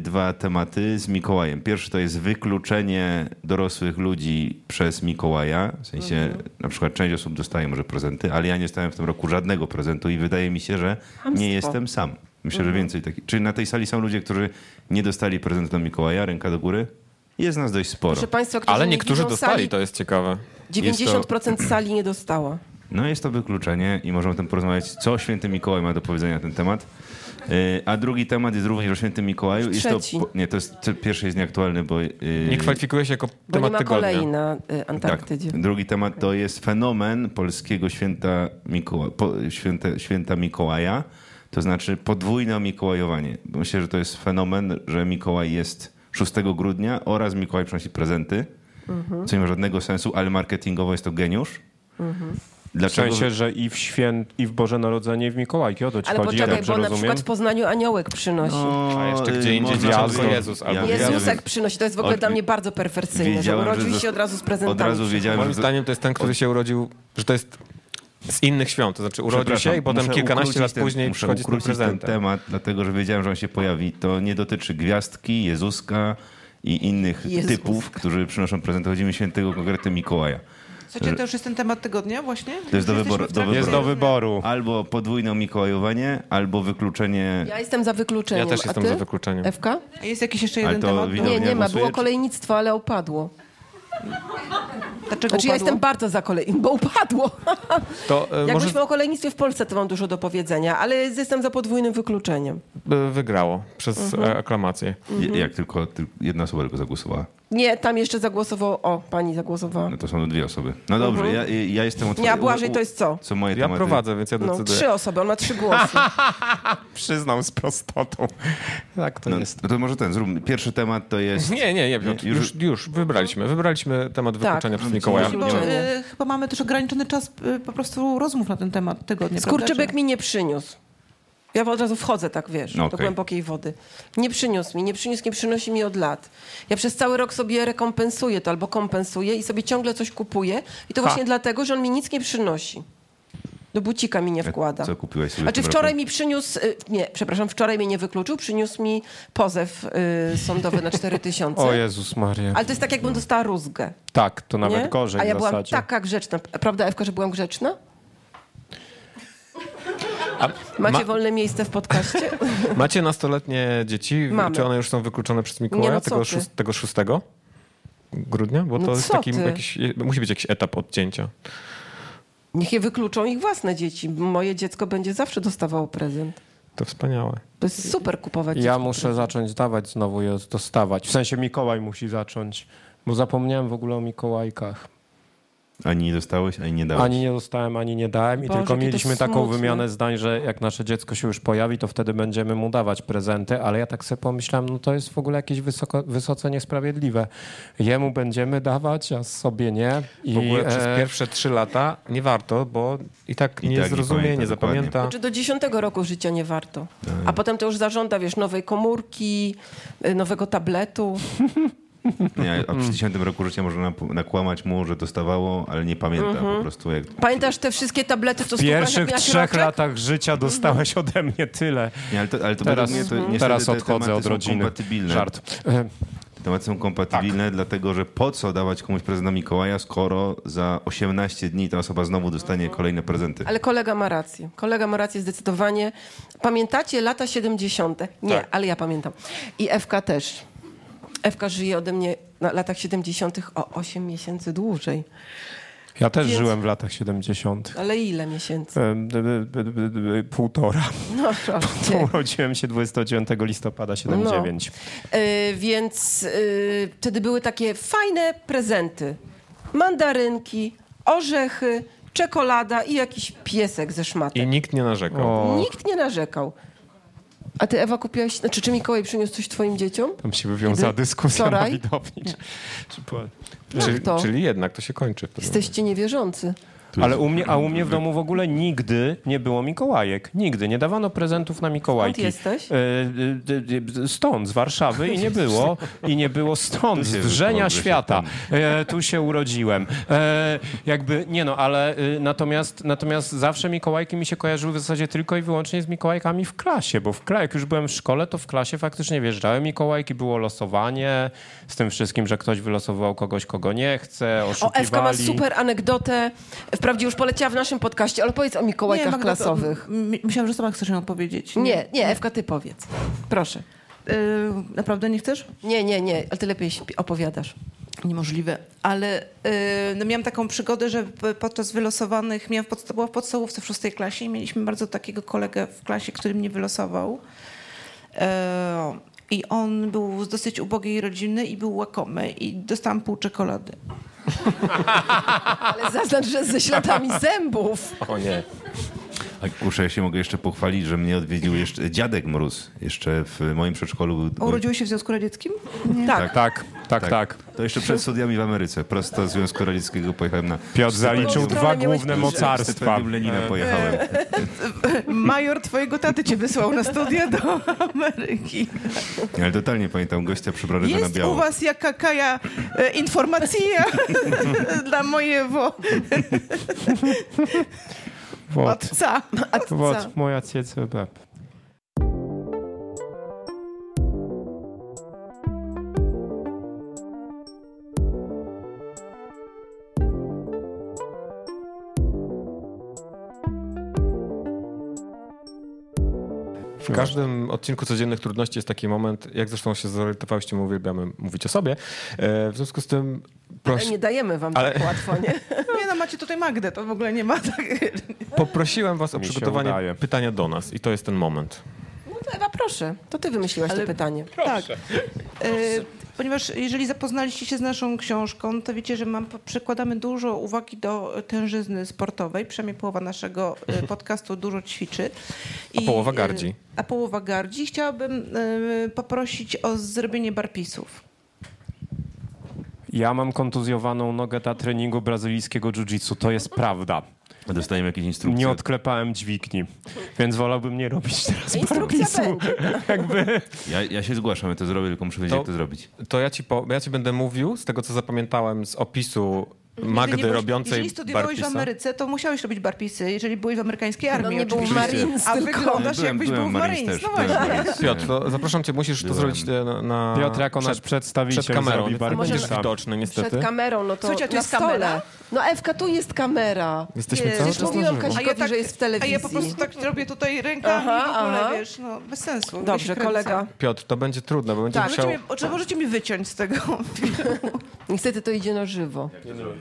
Speaker 5: dwa tematy z Mikołajem. Pierwszy to jest wykluczenie dorosłych ludzi przez Mikołaja. W sensie na przykład część osób dostaje może prezenty, ale ja nie dostałem w tym roku żadnego prezentu i wydaje mi się, że nie jestem sam. Myślę, że więcej takich. Czyli na tej sali są ludzie, którzy nie dostali prezentu do Mikołaja, ręka do góry? Jest nas dość sporo.
Speaker 3: Proszę Państwa, którzy
Speaker 1: Ale
Speaker 3: nie
Speaker 1: niektórzy
Speaker 3: widzą
Speaker 1: dostali,
Speaker 3: sali,
Speaker 1: to jest ciekawe.
Speaker 3: 90% sali nie dostała.
Speaker 5: No jest to wykluczenie i możemy o tym porozmawiać, co święty Mikołaj ma do powiedzenia na ten temat. Yy, A drugi temat jest również o świętym Mikołaju. Jest to,
Speaker 3: Trzeci.
Speaker 5: po- nie, to jest, to pierwszy jest nieaktualny, bo... yy,
Speaker 1: Nie kwalifikuje się jako
Speaker 3: Bo nie
Speaker 1: temat
Speaker 3: ma
Speaker 1: tygodnia.
Speaker 3: kolei na y,
Speaker 5: tak.
Speaker 3: Antarktydzie.
Speaker 5: Drugi temat to jest fenomen polskiego święta, Mikoła, po, święte, święta Mikołaja, to znaczy podwójne mikołajowanie. Bo Myślę, że to jest fenomen, że Mikołaj jest 6 grudnia oraz Mikołaj przynosi prezenty, co nie ma żadnego sensu, ale marketingowo jest to geniusz.
Speaker 4: W
Speaker 5: Dlaczego
Speaker 4: sensie, że i w święt, i w Boże Narodzenie, i w Mikołajki, o to ci
Speaker 3: Ale
Speaker 4: chodzi, ja
Speaker 3: poczekaj,
Speaker 4: dobrze
Speaker 3: bo na
Speaker 4: rozumiem?
Speaker 3: przykład w Poznaniu aniołek przynosi.
Speaker 1: A jeszcze gdzie indziej
Speaker 5: Można
Speaker 1: dzieciątko
Speaker 5: było-
Speaker 1: Jezus albo
Speaker 5: No, Ja
Speaker 1: Jezus.
Speaker 3: Jezusek przynosi. To jest w ogóle
Speaker 5: Od-
Speaker 3: dla mnie bardzo perwersyjne, że
Speaker 5: wiedziałem,
Speaker 3: urodził
Speaker 5: że
Speaker 3: się od razu z prezentami.
Speaker 5: Od razu
Speaker 1: Moim
Speaker 5: wiedziałem, że...
Speaker 1: zdaniem to jest ten, który się urodził, że to jest z innych świąt, to znaczy urodził się
Speaker 5: Przepraszam,
Speaker 1: i potem
Speaker 5: muszę
Speaker 1: kilkanaście
Speaker 5: ukrócić
Speaker 1: lat
Speaker 5: ten-
Speaker 1: później
Speaker 5: muszę
Speaker 1: przychodzi z tym
Speaker 5: ukrócić ten
Speaker 1: prezentem.
Speaker 5: temat, dlatego że wiedziałem, że on się pojawi. To nie dotyczy gwiazdki, Jezuska i innych
Speaker 3: Jezus.
Speaker 5: typów, którzy przynoszą prezenty. Chodzi mi o świętego konkretnie Mikołaja.
Speaker 2: Słuchajcie, to już jest ten temat tygodnia właśnie?
Speaker 5: To jest do
Speaker 2: Jesteśmy
Speaker 5: wyboru-
Speaker 2: w trakcie-
Speaker 5: do
Speaker 4: Jest do wyboru.
Speaker 5: Albo podwójne mikołajowanie, albo wykluczenie...
Speaker 3: Ja jestem za wykluczeniem.
Speaker 1: Ja też jestem
Speaker 3: A ty?
Speaker 1: za wykluczeniem.
Speaker 3: Ewka?
Speaker 2: A Jest jakiś jeszcze
Speaker 5: Ale
Speaker 2: jeden
Speaker 5: to
Speaker 2: temat?
Speaker 5: widać-
Speaker 3: Nie,
Speaker 5: Podobnie
Speaker 3: nie ma.
Speaker 5: głosuje,
Speaker 3: Było
Speaker 5: czy-
Speaker 3: kolejnictwo, ale upadło.
Speaker 2: Dlaczego
Speaker 3: Znaczy
Speaker 2: upadło?
Speaker 3: ja jestem bardzo za kolejnictwo, bo upadło.
Speaker 1: To e,
Speaker 3: Jak
Speaker 1: może
Speaker 3: myślę o kolejnictwie w Polsce, to mam dużo do powiedzenia, ale jestem za podwójnym wykluczeniem.
Speaker 1: e, wygrało przez
Speaker 3: Mhm.
Speaker 1: e, aklamację.
Speaker 5: Je- Jak tylko ty- jedna osoba tylko zagłosowała.
Speaker 3: Nie, tam jeszcze zagłosował. O, pani zagłosowała.
Speaker 5: No to są dwie osoby. No
Speaker 1: Mhm.
Speaker 5: dobrze, ja, ja jestem... Otwor...
Speaker 3: Ja, Błażej, to jest co?
Speaker 5: Co moje
Speaker 1: Ja
Speaker 5: tematy.
Speaker 1: prowadzę, więc ja
Speaker 3: No,
Speaker 1: decyduję.
Speaker 3: trzy osoby, on ma trzy głosy.
Speaker 4: Przyznam z prostotą. Tak to
Speaker 5: No,
Speaker 4: jest.
Speaker 5: no to może ten, zróbmy. Pierwszy temat to jest...
Speaker 1: Nie, nie, nie, Piotr.
Speaker 5: Już-
Speaker 1: Już, już wybraliśmy. Wybraliśmy
Speaker 3: Tak.
Speaker 1: temat wykluczenia przez Mikołaja.
Speaker 3: Musi
Speaker 2: Bo,
Speaker 3: być.
Speaker 2: y, chyba mamy też ograniczony czas y, po prostu rozmów na ten temat tygodnia.
Speaker 3: Skurczybyk
Speaker 2: prawda,
Speaker 3: mi nie przyniósł. Ja od razu wchodzę, tak wiesz,
Speaker 5: No
Speaker 3: do
Speaker 5: okej.
Speaker 3: głębokiej wody. Nie przyniósł mi, nie przyniósł, nie przynosi mi od lat. Ja przez cały rok sobie rekompensuję to albo kompensuję i sobie ciągle coś kupuję. I to właśnie dlatego, że on mi nic nie przynosi. Do bucika mi nie wkłada.
Speaker 5: E, Co kupiłeś sobie w
Speaker 3: Znaczy
Speaker 5: tym
Speaker 3: wczoraj
Speaker 5: roku?
Speaker 3: mi przyniósł, y, nie, przepraszam, wczoraj mnie nie wykluczył, przyniósł mi pozew y, sądowy na 4
Speaker 5: [LAUGHS]
Speaker 3: tysiące.
Speaker 4: O Jezus Maria.
Speaker 3: Ale to jest tak, jakbym dostała rózgę.
Speaker 4: Tak, to nawet
Speaker 3: nie?
Speaker 4: gorzej
Speaker 3: A ja
Speaker 4: w
Speaker 3: byłam tak
Speaker 4: zasadzie.
Speaker 3: taka grzeczna. Prawda, Ewka, że byłam grzeczna? Macie
Speaker 1: Ma-
Speaker 3: wolne miejsce w podcaście? [LAUGHS]
Speaker 1: Macie nastoletnie dzieci?
Speaker 3: Mamy.
Speaker 1: Czy one już są wykluczone przez Mikołaja?
Speaker 3: Nie, no co
Speaker 1: tego,
Speaker 3: ty.
Speaker 1: szóst- tego szóstego grudnia? Bo
Speaker 3: No
Speaker 1: to jest
Speaker 3: co
Speaker 1: taki
Speaker 3: ty.
Speaker 1: jakiś, musi być jakiś etap odcięcia.
Speaker 3: Niech je wykluczą ich własne dzieci. Moje dziecko będzie zawsze dostawało prezent.
Speaker 1: To wspaniałe.
Speaker 3: To jest super kupować
Speaker 4: Ja
Speaker 3: dziecku
Speaker 4: muszę zacząć dawać znowu i od- dostawać. W sensie Mikołaj musi zacząć, bo zapomniałem w ogóle o Mikołajkach.
Speaker 5: Ani nie dostałeś, ani nie dałeś.
Speaker 4: Ani nie dostałem, ani nie dałem i
Speaker 3: Boże,
Speaker 4: tylko
Speaker 3: jakie to
Speaker 4: mieliśmy taką
Speaker 3: smutne.
Speaker 4: wymianę zdań, że jak nasze dziecko się już pojawi, to wtedy będziemy mu dawać prezenty, ale ja tak sobie pomyślałem, no to jest w ogóle jakieś wysoko, wysoce niesprawiedliwe. Jemu będziemy dawać, a sobie nie. I
Speaker 1: W ogóle przez
Speaker 4: e,
Speaker 1: pierwsze trzy lata nie warto, bo i tak
Speaker 5: I
Speaker 1: nie
Speaker 5: tak nie
Speaker 1: zrozumie, nie,
Speaker 5: pamięta dokładnie.
Speaker 1: zapamięta.
Speaker 3: Czy Znaczy, do 10 roku życia nie warto.
Speaker 4: Tak.
Speaker 3: A potem to już zażąda, wiesz, nowej komórki, y, nowego tabletu.
Speaker 5: Nie, a przy 10 roku życia można nap- nakłamać mu, że dostawało, ale nie pamięta
Speaker 3: Mhm.
Speaker 5: po prostu jak...
Speaker 3: Pamiętasz te wszystkie tablety, co
Speaker 4: w
Speaker 3: słuchasz, jak
Speaker 4: pierwszych
Speaker 3: miałaś
Speaker 4: trzech
Speaker 3: roczek?
Speaker 4: latach życia
Speaker 3: Mhm.
Speaker 4: dostałeś ode mnie tyle.
Speaker 5: Nie, ale to, ale to
Speaker 4: Teraz,
Speaker 5: według mnie to niestety
Speaker 4: teraz
Speaker 5: te
Speaker 4: odchodzę
Speaker 5: tematy
Speaker 4: od
Speaker 5: są
Speaker 4: rodziny.
Speaker 5: kompatybilne.
Speaker 4: Żart. Tak. E,
Speaker 5: Te tematy są kompatybilne, dlatego że po co dawać komuś prezent na Mikołaja, skoro za 18 dni ta osoba znowu dostanie kolejne prezenty.
Speaker 3: Mhm. Ale kolega ma rację. Kolega ma rację zdecydowanie. Pamiętacie lata 70. Nie, ale ja pamiętam. I Ewka też. Ewka żyje ode mnie na latach 70. o 8 miesięcy dłużej.
Speaker 4: Ja też
Speaker 3: Więc-
Speaker 4: żyłem w latach 70.
Speaker 3: Ale ile miesięcy?
Speaker 4: E, b- b- b- b- b- Półtora.
Speaker 3: [LAUGHS] No proszę. cię.
Speaker 4: Urodziłem się 29 listopada 79.
Speaker 3: Y, więc y, wtedy były takie fajne prezenty. Mandarynki, orzechy, czekolada i jakiś piesek ze szmatem.
Speaker 1: I nikt nie narzekał.
Speaker 4: O,
Speaker 3: Nikt nie narzekał. A ty, Ewa, kupiłaś... Znaczy, czy Mikołaj przyniósł coś twoim dzieciom?
Speaker 4: tam się wywiązała
Speaker 3: Kiedy?
Speaker 4: dyskusja
Speaker 3: Wczoraj?
Speaker 4: na widowni. Czy, czy po-
Speaker 1: czyli,
Speaker 3: to?
Speaker 1: czyli jednak to się kończy. w pewnym
Speaker 3: Jesteście niewierzący.
Speaker 4: Ale u mnie, a u mnie w domu w ogóle nigdy nie było Mikołajek. Nigdy. Nie dawano prezentów na Mikołajki.
Speaker 3: jesteś?
Speaker 4: E, e, e, Stąd, z Warszawy i nie
Speaker 3: [LAUGHS]
Speaker 4: było. I nie było stąd, z
Speaker 5: się
Speaker 4: wrzenia
Speaker 5: wyprowadzi,
Speaker 4: świata. E, Tu się urodziłem. E, Jakby, nie no, ale e, natomiast, natomiast zawsze Mikołajki mi się kojarzyły w zasadzie tylko i wyłącznie z Mikołajkami w klasie, bo w kla- jak już byłem w szkole, to w klasie faktycznie wjeżdżały Mikołajki, było losowanie z tym wszystkim, że ktoś wylosował kogoś, kogo nie chce,
Speaker 3: O,
Speaker 4: oszukiwali.
Speaker 3: Ewka ma super anegdotę. Wprawdzie już poleciała w naszym podcaście, ale powiedz o Mikołajkach
Speaker 2: Magda, to-
Speaker 3: klasowych.
Speaker 2: m- Myślałam, że sama chcesz ją powiedzieć.
Speaker 3: Nie, nie, Ewka, ty powiedz. Proszę.
Speaker 2: Y, naprawdę nie chcesz?
Speaker 3: Nie, nie, nie, ale ty lepiej śpi- opowiadasz.
Speaker 2: Niemożliwe. Ale y, no miałam taką przygodę, że p- podczas wylosowanych, miałam w podsta- była w podstawówce w szóstej klasie i mieliśmy bardzo takiego kolegę w klasie, który mnie wylosował. E, I on był z dosyć ubogiej rodziny i był łakomy i dostałam pół czekolady.
Speaker 3: Ale zaznacz, że ze śladami zębów.
Speaker 1: momencie. O nie.
Speaker 5: A kurczę, ja się mogę jeszcze pochwalić, że mnie odwiedził jeszcze dziadek Mróz. Jeszcze w moim przedszkolu był...
Speaker 2: A Urodziłeś się w Związku Radzieckim?
Speaker 3: Tak.
Speaker 4: Tak, tak, tak. tak.
Speaker 5: To jeszcze przed studiami w Ameryce. Prosto z Związku Radzieckiego pojechałem na...
Speaker 4: Piotr zaliczył
Speaker 3: stronę
Speaker 4: dwa
Speaker 3: miałeś
Speaker 4: główne
Speaker 3: bliżej.
Speaker 4: mocarstwa.
Speaker 5: Stypendium Lenina
Speaker 3: e,
Speaker 5: pojechałem.
Speaker 2: Major twojego taty cię wysłał na studia do Ameryki.
Speaker 5: Ale totalnie pamiętam gościa przebranego na
Speaker 2: Jest
Speaker 5: biało.
Speaker 2: u was jaka kaja e, informacja [LAUGHS] dla
Speaker 1: [LAUGHS]
Speaker 2: mojego
Speaker 4: Wod,
Speaker 2: matca.
Speaker 3: Co?
Speaker 4: wod, moja CCB.
Speaker 1: W każdym odcinku codziennych trudności jest taki moment, jak zresztą się zorientowałyście, my uwielbiamy mówić o sobie. E, W związku z tym
Speaker 3: Ale
Speaker 1: proś...
Speaker 3: nie dajemy wam
Speaker 1: Ale-
Speaker 3: tak łatwo,
Speaker 2: [LAUGHS]
Speaker 3: nie?
Speaker 2: Nie no, macie tutaj Magdę, to w ogóle nie ma tak.
Speaker 1: poprosiłem was o
Speaker 4: Mi się
Speaker 1: przygotowanie
Speaker 4: udaje.
Speaker 1: pytania do nas i to jest ten moment.
Speaker 3: No to Ewa, proszę. To ty wymyśliłaś to pytanie.
Speaker 2: Tak. E, ponieważ jeżeli zapoznaliście się z naszą książką, to wiecie, że mam, przykładamy dużo uwagi do tężyzny sportowej. Przynajmniej połowa naszego
Speaker 1: [LAUGHS]
Speaker 2: e, podcastu dużo ćwiczy.
Speaker 1: A połowa gardzi.
Speaker 2: e, A połowa gardzi. Chciałabym e, poprosić o zrobienie barpisów.
Speaker 4: Ja mam kontuzjowaną nogę na treningu brazylijskiego jiu-jitsu. To jest prawda.
Speaker 5: Dostajemy jakieś instrukcje.
Speaker 4: Nie odklepałem dźwigni, więc wolałbym nie robić teraz
Speaker 3: Instrukcja
Speaker 4: barbisu. Jakby...
Speaker 5: Ja, ja się zgłaszam, ja to zrobię, tylko muszę wiedzieć,
Speaker 1: To-
Speaker 5: jak to zrobić.
Speaker 1: To ja ci, po... ja ci będę mówił z tego, co zapamiętałem z opisu Magdy
Speaker 2: Jeżeli byłeś-
Speaker 1: robiącej
Speaker 2: Jeżeli studiowałeś
Speaker 1: barpisa.
Speaker 2: w Ameryce, to musiałeś robić barpisy, jeżeli byłeś w amerykańskiej armii
Speaker 3: No nie był
Speaker 2: oczywiście.
Speaker 3: Marines,
Speaker 2: A
Speaker 3: tylko...
Speaker 2: wyglądasz jakbyś był w Marines. No
Speaker 5: byłem w
Speaker 2: właśnie.
Speaker 5: Marines.
Speaker 1: Piotr, to zapraszam cię, musisz to
Speaker 5: Byłem.
Speaker 1: zrobić e, na, na...
Speaker 4: Piotr jako
Speaker 1: przed,
Speaker 4: nasz przedstawiciel
Speaker 1: przed kamerą.
Speaker 4: zrobi
Speaker 1: Nie będziesz
Speaker 4: barbisa.
Speaker 1: widoczny, niestety.
Speaker 3: Przed kamerą, no to
Speaker 2: Słuchajcie, a tu
Speaker 3: na
Speaker 2: jest kamera?
Speaker 3: stole. No Ewka, tu jest kamera.
Speaker 1: Jesteśmy
Speaker 2: Nie,
Speaker 1: cały
Speaker 3: Przecież
Speaker 1: czas na
Speaker 3: mówiłam
Speaker 1: żywo.
Speaker 3: Kaśkowi, że jest w
Speaker 2: A
Speaker 3: telewizji.
Speaker 2: ja po prostu tak robię tutaj rękami
Speaker 3: Aha,
Speaker 2: w ogóle,
Speaker 3: aha.
Speaker 2: wiesz, no bez sensu.
Speaker 3: Dobrze,
Speaker 2: Ja się kręcę.
Speaker 3: kolega.
Speaker 1: Piotr, to będzie trudne, bo będziesz
Speaker 2: Możecie
Speaker 1: musiał...
Speaker 2: mnie, o, czy możecie mi wyciąć z tego?
Speaker 3: Niestety to idzie na żywo.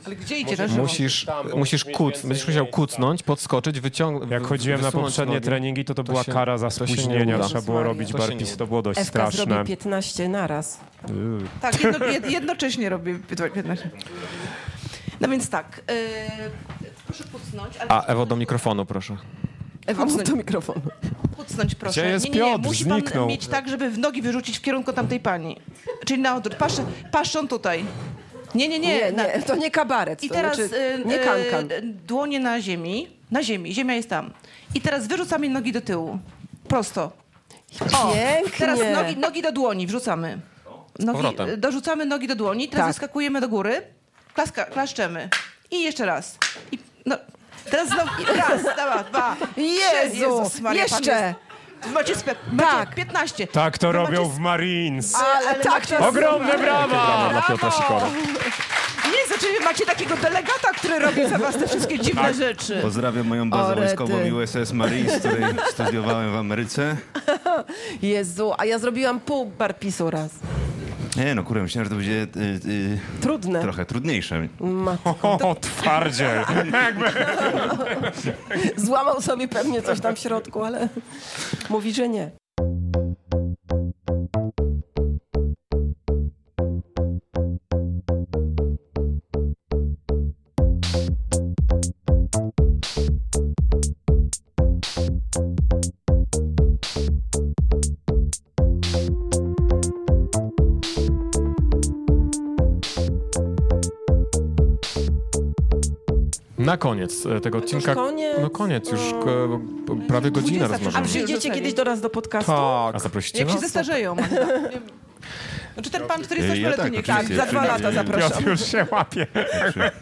Speaker 2: Ale gdzie idzie na żywo?
Speaker 1: Musisz,
Speaker 4: Tam, bo
Speaker 1: musisz
Speaker 4: musisz mieć
Speaker 1: kuc,
Speaker 4: więcej
Speaker 1: będziesz musiał
Speaker 4: miejsca.
Speaker 1: kucnąć, podskoczyć, wyciągnąć.
Speaker 4: Jak chodziłem na poprzednie treningi, to to,
Speaker 1: To
Speaker 4: była
Speaker 1: się-
Speaker 4: kara za
Speaker 1: to się nie
Speaker 4: spóźnienia.
Speaker 1: uda.
Speaker 4: Trzeba było
Speaker 3: Maria.
Speaker 4: robić
Speaker 1: To się nie
Speaker 4: barpis.
Speaker 1: uda.
Speaker 4: To było dość
Speaker 3: Ewka
Speaker 4: straszne.
Speaker 3: zrobi 15 naraz.
Speaker 2: Tak, jedno, jed, jednocześnie robię 15. No więc tak, yy, proszę pucnąć. ale-
Speaker 1: A Ewo, do mikrofonu proszę.
Speaker 3: Ewa, mów do mikrofonu.
Speaker 2: Pucnąć proszę.
Speaker 4: Gdzie jest
Speaker 2: nie, nie, nie.
Speaker 4: Piotr?
Speaker 2: Musi pan
Speaker 4: Zniknął.
Speaker 2: mieć tak, żeby w nogi wyrzucić w kierunku tamtej pani. Czyli na odwrót. Patrz, patrzą tutaj. Nie, nie, nie.
Speaker 3: Nie,
Speaker 2: na-
Speaker 3: nie, to nie kabaret.
Speaker 2: I
Speaker 3: to
Speaker 2: teraz
Speaker 3: znaczy,
Speaker 2: y,
Speaker 3: nie
Speaker 2: y,
Speaker 3: kankan.
Speaker 2: dłonie na ziemi. Na ziemi, ziemia jest tam. I teraz wyrzucamy nogi do tyłu. Prosto.
Speaker 3: Pięknie.
Speaker 2: Teraz nogi, nogi do dłoni wrzucamy. Nogi,
Speaker 1: powrotem.
Speaker 2: y, dorzucamy nogi do dłoni, teraz
Speaker 3: Tak.
Speaker 2: wyskakujemy do góry, klaska, klaszczemy. I jeszcze raz. I, no, teraz znowu, raz, dwa, dwa, trzy.
Speaker 3: Jezu,
Speaker 2: Jezus Maria, pan
Speaker 3: jeszcze.
Speaker 2: jest- Macie, spe, macie
Speaker 3: Tak.
Speaker 2: 15.
Speaker 4: Tak
Speaker 1: No
Speaker 4: to
Speaker 2: Wy
Speaker 4: robią
Speaker 2: macie
Speaker 4: w Marines.
Speaker 3: Ale,
Speaker 2: ale
Speaker 3: tak,
Speaker 2: macie-
Speaker 3: to jest-
Speaker 4: Ogromne brawa!
Speaker 1: Dla Piotra Sikora.
Speaker 2: Nie, znaczy wy macie takiego delegata, który robi za was te wszystkie dziwne rzeczy.
Speaker 5: Pozdrawiam moją bazę
Speaker 3: Orety.
Speaker 5: wojskową USS Marines, z której [LAUGHS] studiowałem w Ameryce.
Speaker 3: Jezu, a ja zrobiłam pół barpisu raz.
Speaker 5: Nie no, kurwa, myślałem, że to będzie y, y,
Speaker 3: Trudne.
Speaker 2: Tak.
Speaker 5: trochę trudniejsze.
Speaker 4: O, twardziel.
Speaker 3: Złamał sobie pewnie coś tam w środku, ale mówi, że nie.
Speaker 1: Na koniec e, tego odcinka.
Speaker 3: koniec?
Speaker 1: No koniec, już e, p- prawie godzinę
Speaker 2: 20,
Speaker 3: A
Speaker 1: rozmawiamy. Tak.
Speaker 3: przyjdziecie
Speaker 2: Rzucali.
Speaker 3: kiedyś do nas do podcastu?
Speaker 1: A zaprosicie
Speaker 2: Jak się
Speaker 1: nas?
Speaker 2: zestarzeją. Magda. Znaczy ten pan, który jest też
Speaker 5: Ja tak,
Speaker 2: poletnik. tak,
Speaker 5: oczywiście.
Speaker 2: za dwa
Speaker 5: Czyli-
Speaker 2: lata zapraszam.
Speaker 4: Piotr już się łapie.
Speaker 5: Znaczy,
Speaker 2: [LAUGHS]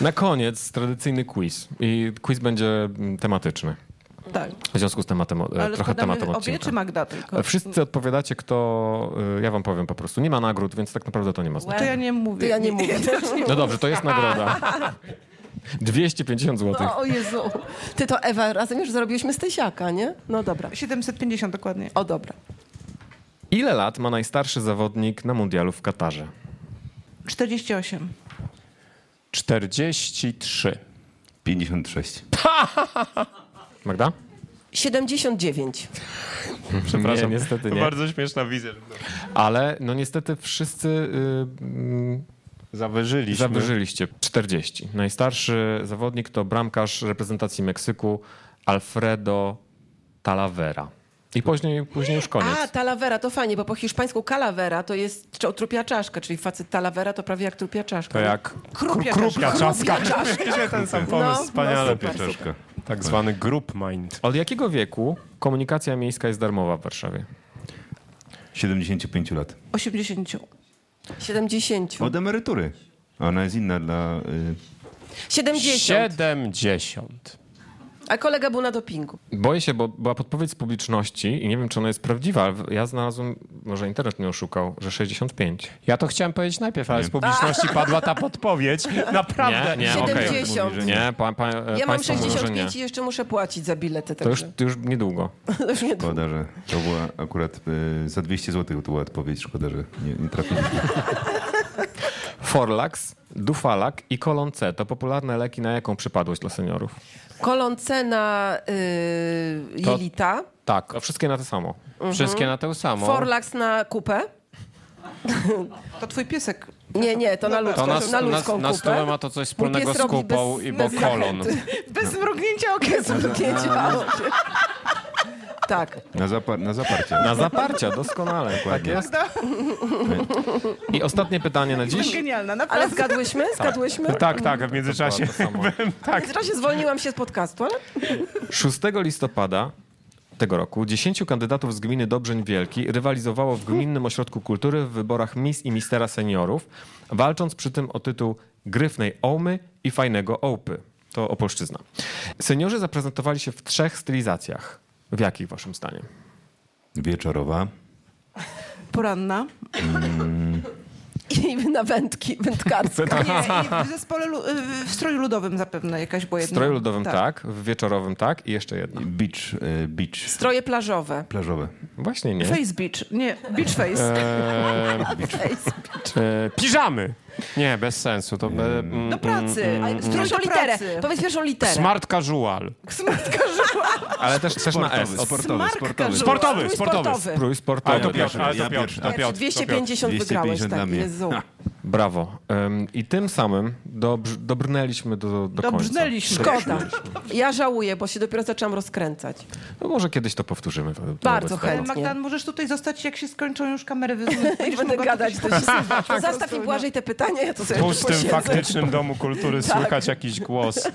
Speaker 1: Na koniec tradycyjny quiz. I quiz będzie mm, tematyczny.
Speaker 2: Tak.
Speaker 1: W związku z tematem, e,
Speaker 2: Ale
Speaker 1: trochę
Speaker 2: składamy
Speaker 1: tematem
Speaker 2: obie
Speaker 1: odcinka. E,
Speaker 2: czy Magda tylko?
Speaker 1: Wszyscy odpowiadacie, kto. y, Ja wam powiem po prostu. Nie ma nagród, więc tak naprawdę to nie ma
Speaker 2: To
Speaker 1: znaczenia.
Speaker 2: ja nie mówię.
Speaker 3: To ja [LAUGHS] nie mówię.
Speaker 1: No dobrze, to jest nagroda.
Speaker 2: [LAUGHS]
Speaker 1: 250 zł.
Speaker 2: No.
Speaker 3: O, o Jezu. Ty to Ewa, razem już zrobiłyśmy Stysiaka, nie? No dobra.
Speaker 2: 750 dokładnie.
Speaker 3: O dobra.
Speaker 1: Ile lat ma najstarszy zawodnik na mundialu w Katarze?
Speaker 2: 48.
Speaker 4: 43.
Speaker 5: 56.
Speaker 1: Magda?
Speaker 3: 79.
Speaker 1: Przepraszam, nie, niestety nie.
Speaker 4: Bardzo śmieszna wizja.
Speaker 1: Ale no niestety wszyscy y, mm,
Speaker 4: Zawyżyliśmy.
Speaker 1: zawyżyliście 40. Najstarszy zawodnik to bramkarz reprezentacji Meksyku Alfredo Talavera. I później, później już koniec.
Speaker 3: A, talavera, to fajnie, bo po hiszpańsku calavera to jest czo- trupia czaszka, czyli facet talavera to prawie jak trupia czaszka.
Speaker 4: To jak
Speaker 2: Krupia
Speaker 4: krupka czaska. Wiecie ten sam pomysł,
Speaker 3: No,
Speaker 4: wspaniale.
Speaker 3: no super.
Speaker 5: Pieczeszka.
Speaker 4: tak zwany group mind.
Speaker 1: Od jakiego wieku komunikacja miejska jest darmowa w Warszawie?
Speaker 5: 75 lat.
Speaker 2: 80.
Speaker 3: 70.
Speaker 5: Od emerytury. A Ona jest inna dla... Y,
Speaker 3: 70.
Speaker 4: 70.
Speaker 3: A kolega był na dopingu.
Speaker 1: Boję się, bo była podpowiedź z publiczności i nie wiem, czy ona jest prawdziwa, ale ja znalazłem, może internet mnie oszukał, że 65.
Speaker 4: Ja to chciałem powiedzieć najpierw, ale z
Speaker 3: [LAUGHS]
Speaker 4: publiczności padła ta podpowiedź. Naprawdę.
Speaker 1: Nie, nie, okej.
Speaker 3: 70.
Speaker 1: Nie, pa, pa,
Speaker 3: Ja mam
Speaker 1: państwo mówią, że nie.
Speaker 3: 65 i jeszcze muszę płacić za bilety.
Speaker 1: To już,
Speaker 3: Także.
Speaker 1: to już niedługo.
Speaker 3: To [LAUGHS] już nie
Speaker 5: szkoda, że to była akurat... Y, za 200 zł to była odpowiedź. Szkoda, że nie, nie trafiliśmy.
Speaker 1: Forlax, Dufalak i Kolon C to popularne leki na jaką przypadłość dla seniorów?
Speaker 3: Kolon C na y,
Speaker 4: To-
Speaker 3: jelita,
Speaker 4: Tak.
Speaker 1: To wszystkie na to samo.
Speaker 4: Wszystkie na tę samą.
Speaker 3: Forlax na kupę.
Speaker 2: To twój piesek.
Speaker 3: Nie, nie, to na ludzką,
Speaker 4: to na,
Speaker 3: na
Speaker 4: na,
Speaker 3: ludzką
Speaker 4: na
Speaker 3: kupę.
Speaker 4: stole
Speaker 3: [LAUGHS]
Speaker 4: ma to coś wspólnego
Speaker 3: pies
Speaker 4: z
Speaker 3: robi
Speaker 4: kupą,
Speaker 3: bez-
Speaker 4: i bo
Speaker 3: bez
Speaker 4: kolon.
Speaker 2: Bez mrugnięcia okiem.
Speaker 3: Jezu, pięć Tak.
Speaker 5: Na, zapar na Tak zaparcie.
Speaker 1: Na zaparcia, doskonale. Tak jest. I ostatnie pytanie na
Speaker 2: Jestem
Speaker 1: dziś.
Speaker 2: genialna,
Speaker 3: Ale
Speaker 2: naprawdę.
Speaker 3: zgadłyśmy? Zgadłyśmy?
Speaker 4: Tak, tak, w międzyczasie.
Speaker 3: W międzyczasie zwolniłam się z podcastu, ale
Speaker 1: 6 listopada tego roku 10 kandydatów z gminy Dobrzeń Wielki rywalizowało w Gminnym Ośrodku Kultury w wyborach Miss i Mistera Seniorów, walcząc przy tym o tytuł Gryfnej Ołmy i Fajnego Ołpy. To Opolszczyzna. Seniorzy zaprezentowali się w trzech stylizacjach. W jakich waszym zdaniem?
Speaker 5: Wieczorowa.
Speaker 2: Poranna.
Speaker 3: i [LAUGHS] na wędki, wędkarstwo.
Speaker 2: Nie, i w zespole, lu- y, w stroju ludowym zapewne jakaś była
Speaker 1: W
Speaker 2: jedna.
Speaker 1: stroju ludowym tak. w wieczorowym tak i jeszcze jedna.
Speaker 5: Beach. Y, beach.
Speaker 3: Stroje plażowe.
Speaker 5: Plażowe.
Speaker 1: Właśnie nie.
Speaker 2: Face beach. Nie, beach face.
Speaker 4: [LAUGHS] E, piżamy! Nie, bez sensu. To be, mm,
Speaker 2: Do pracy.
Speaker 3: Strój
Speaker 2: Proszę
Speaker 3: to literę.
Speaker 2: pracy.
Speaker 3: Powiedz pierwszą literę. [LAUGHS]
Speaker 4: smart casual.
Speaker 1: Ale też, też na S. Od
Speaker 5: Sportowy,
Speaker 2: Smarka
Speaker 5: sportowy.
Speaker 2: żółw.
Speaker 4: Sportowy,
Speaker 3: Strój
Speaker 4: sportowy.
Speaker 1: Strój sportowy.
Speaker 5: to Piotr, ale to Piotr, to
Speaker 3: Pierwszy, 250 wygrałeś,
Speaker 5: 250 dla
Speaker 3: tak.
Speaker 5: mnie.
Speaker 3: Jezu.
Speaker 1: Brawo. Ym, I tym samym dobrz- dobrnęliśmy do, do końca.
Speaker 2: Dobrznęliśmy.
Speaker 3: Szkoda.
Speaker 1: [LAUGHS]
Speaker 3: Ja żałuję, bo się dopiero zaczęłam rozkręcać.
Speaker 1: No może kiedyś to powtórzymy. wobec
Speaker 3: Bardzo
Speaker 1: tego.
Speaker 3: chętnie.
Speaker 2: Magdan, możesz tutaj zostać, jak się skończą już kamery wyzwania.
Speaker 3: I będę gadać do się Zastaw i Błażej te pytania, ja to sobie
Speaker 4: W pustym
Speaker 3: posiedzę.
Speaker 4: faktycznym domu kultury
Speaker 3: Tak.
Speaker 4: słychać jakiś głos.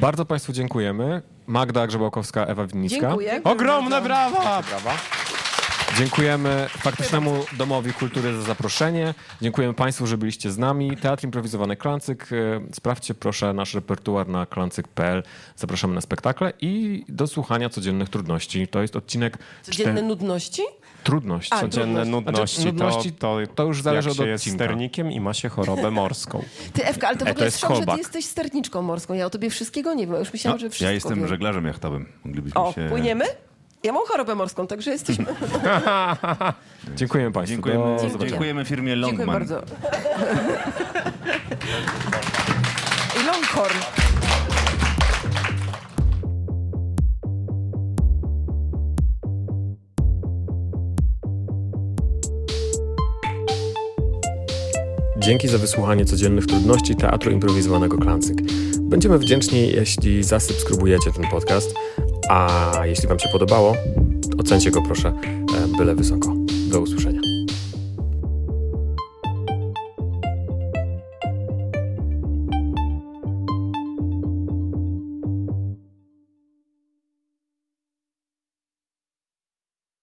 Speaker 1: Bardzo Państwu dziękujemy. Magda Grzebałkowska, Ewa Winnicka.
Speaker 3: Dziękuję.
Speaker 4: Ogromne
Speaker 3: Tak.
Speaker 4: brawa! Brawa.
Speaker 1: Dziękujemy Faktycznemu Domowi Kultury za zaproszenie. Dziękujemy Państwu, że byliście z nami. Teatr Improwizowany Klancyk. e, Sprawdźcie proszę nasz repertuar na klancyk.pl. Zapraszamy na spektakle i do słuchania codziennych trudności. To jest odcinek
Speaker 3: Codzienne
Speaker 1: czter-
Speaker 3: nudności?
Speaker 1: trudność.
Speaker 3: A,
Speaker 4: Codzienne nudności,
Speaker 1: Znaczy, nudności
Speaker 4: to, to,
Speaker 1: to już zależy
Speaker 4: jak
Speaker 1: od
Speaker 4: się jest
Speaker 1: odcinka.
Speaker 4: sternikiem i ma się
Speaker 1: [LAUGHS]
Speaker 4: chorobę morską.
Speaker 3: Ty, Ewka, ale to w
Speaker 1: E, to
Speaker 3: ogóle
Speaker 1: jest
Speaker 3: jest szok, że ty
Speaker 1: callback.
Speaker 3: jesteś sterniczką morską. Ja o tobie wszystkiego nie wiem. Ja Już myślałam, że wszystko
Speaker 5: No, ja jestem
Speaker 3: wiem.
Speaker 5: żeglarzem jachtowym. Moglibyśmy
Speaker 3: O,
Speaker 5: się...
Speaker 3: płyniemy? Ja mam chorobę morską, także jesteśmy.
Speaker 1: Dziękujemy Państwu. Do
Speaker 5: Dziękujemy,
Speaker 1: zobaczenia.
Speaker 5: dziękujemy firmie
Speaker 3: Dziękuję
Speaker 5: Longman. [LAUGHS]
Speaker 3: bardzo. I Longhorn.
Speaker 1: Dzięki za wysłuchanie codziennych trudności Teatru Improwizowanego Klancyk. Będziemy wdzięczni, jeśli zasubskrybujecie ten podcast, a jeśli Wam się podobało, ocencie go proszę e, byle wysoko. Do usłyszenia.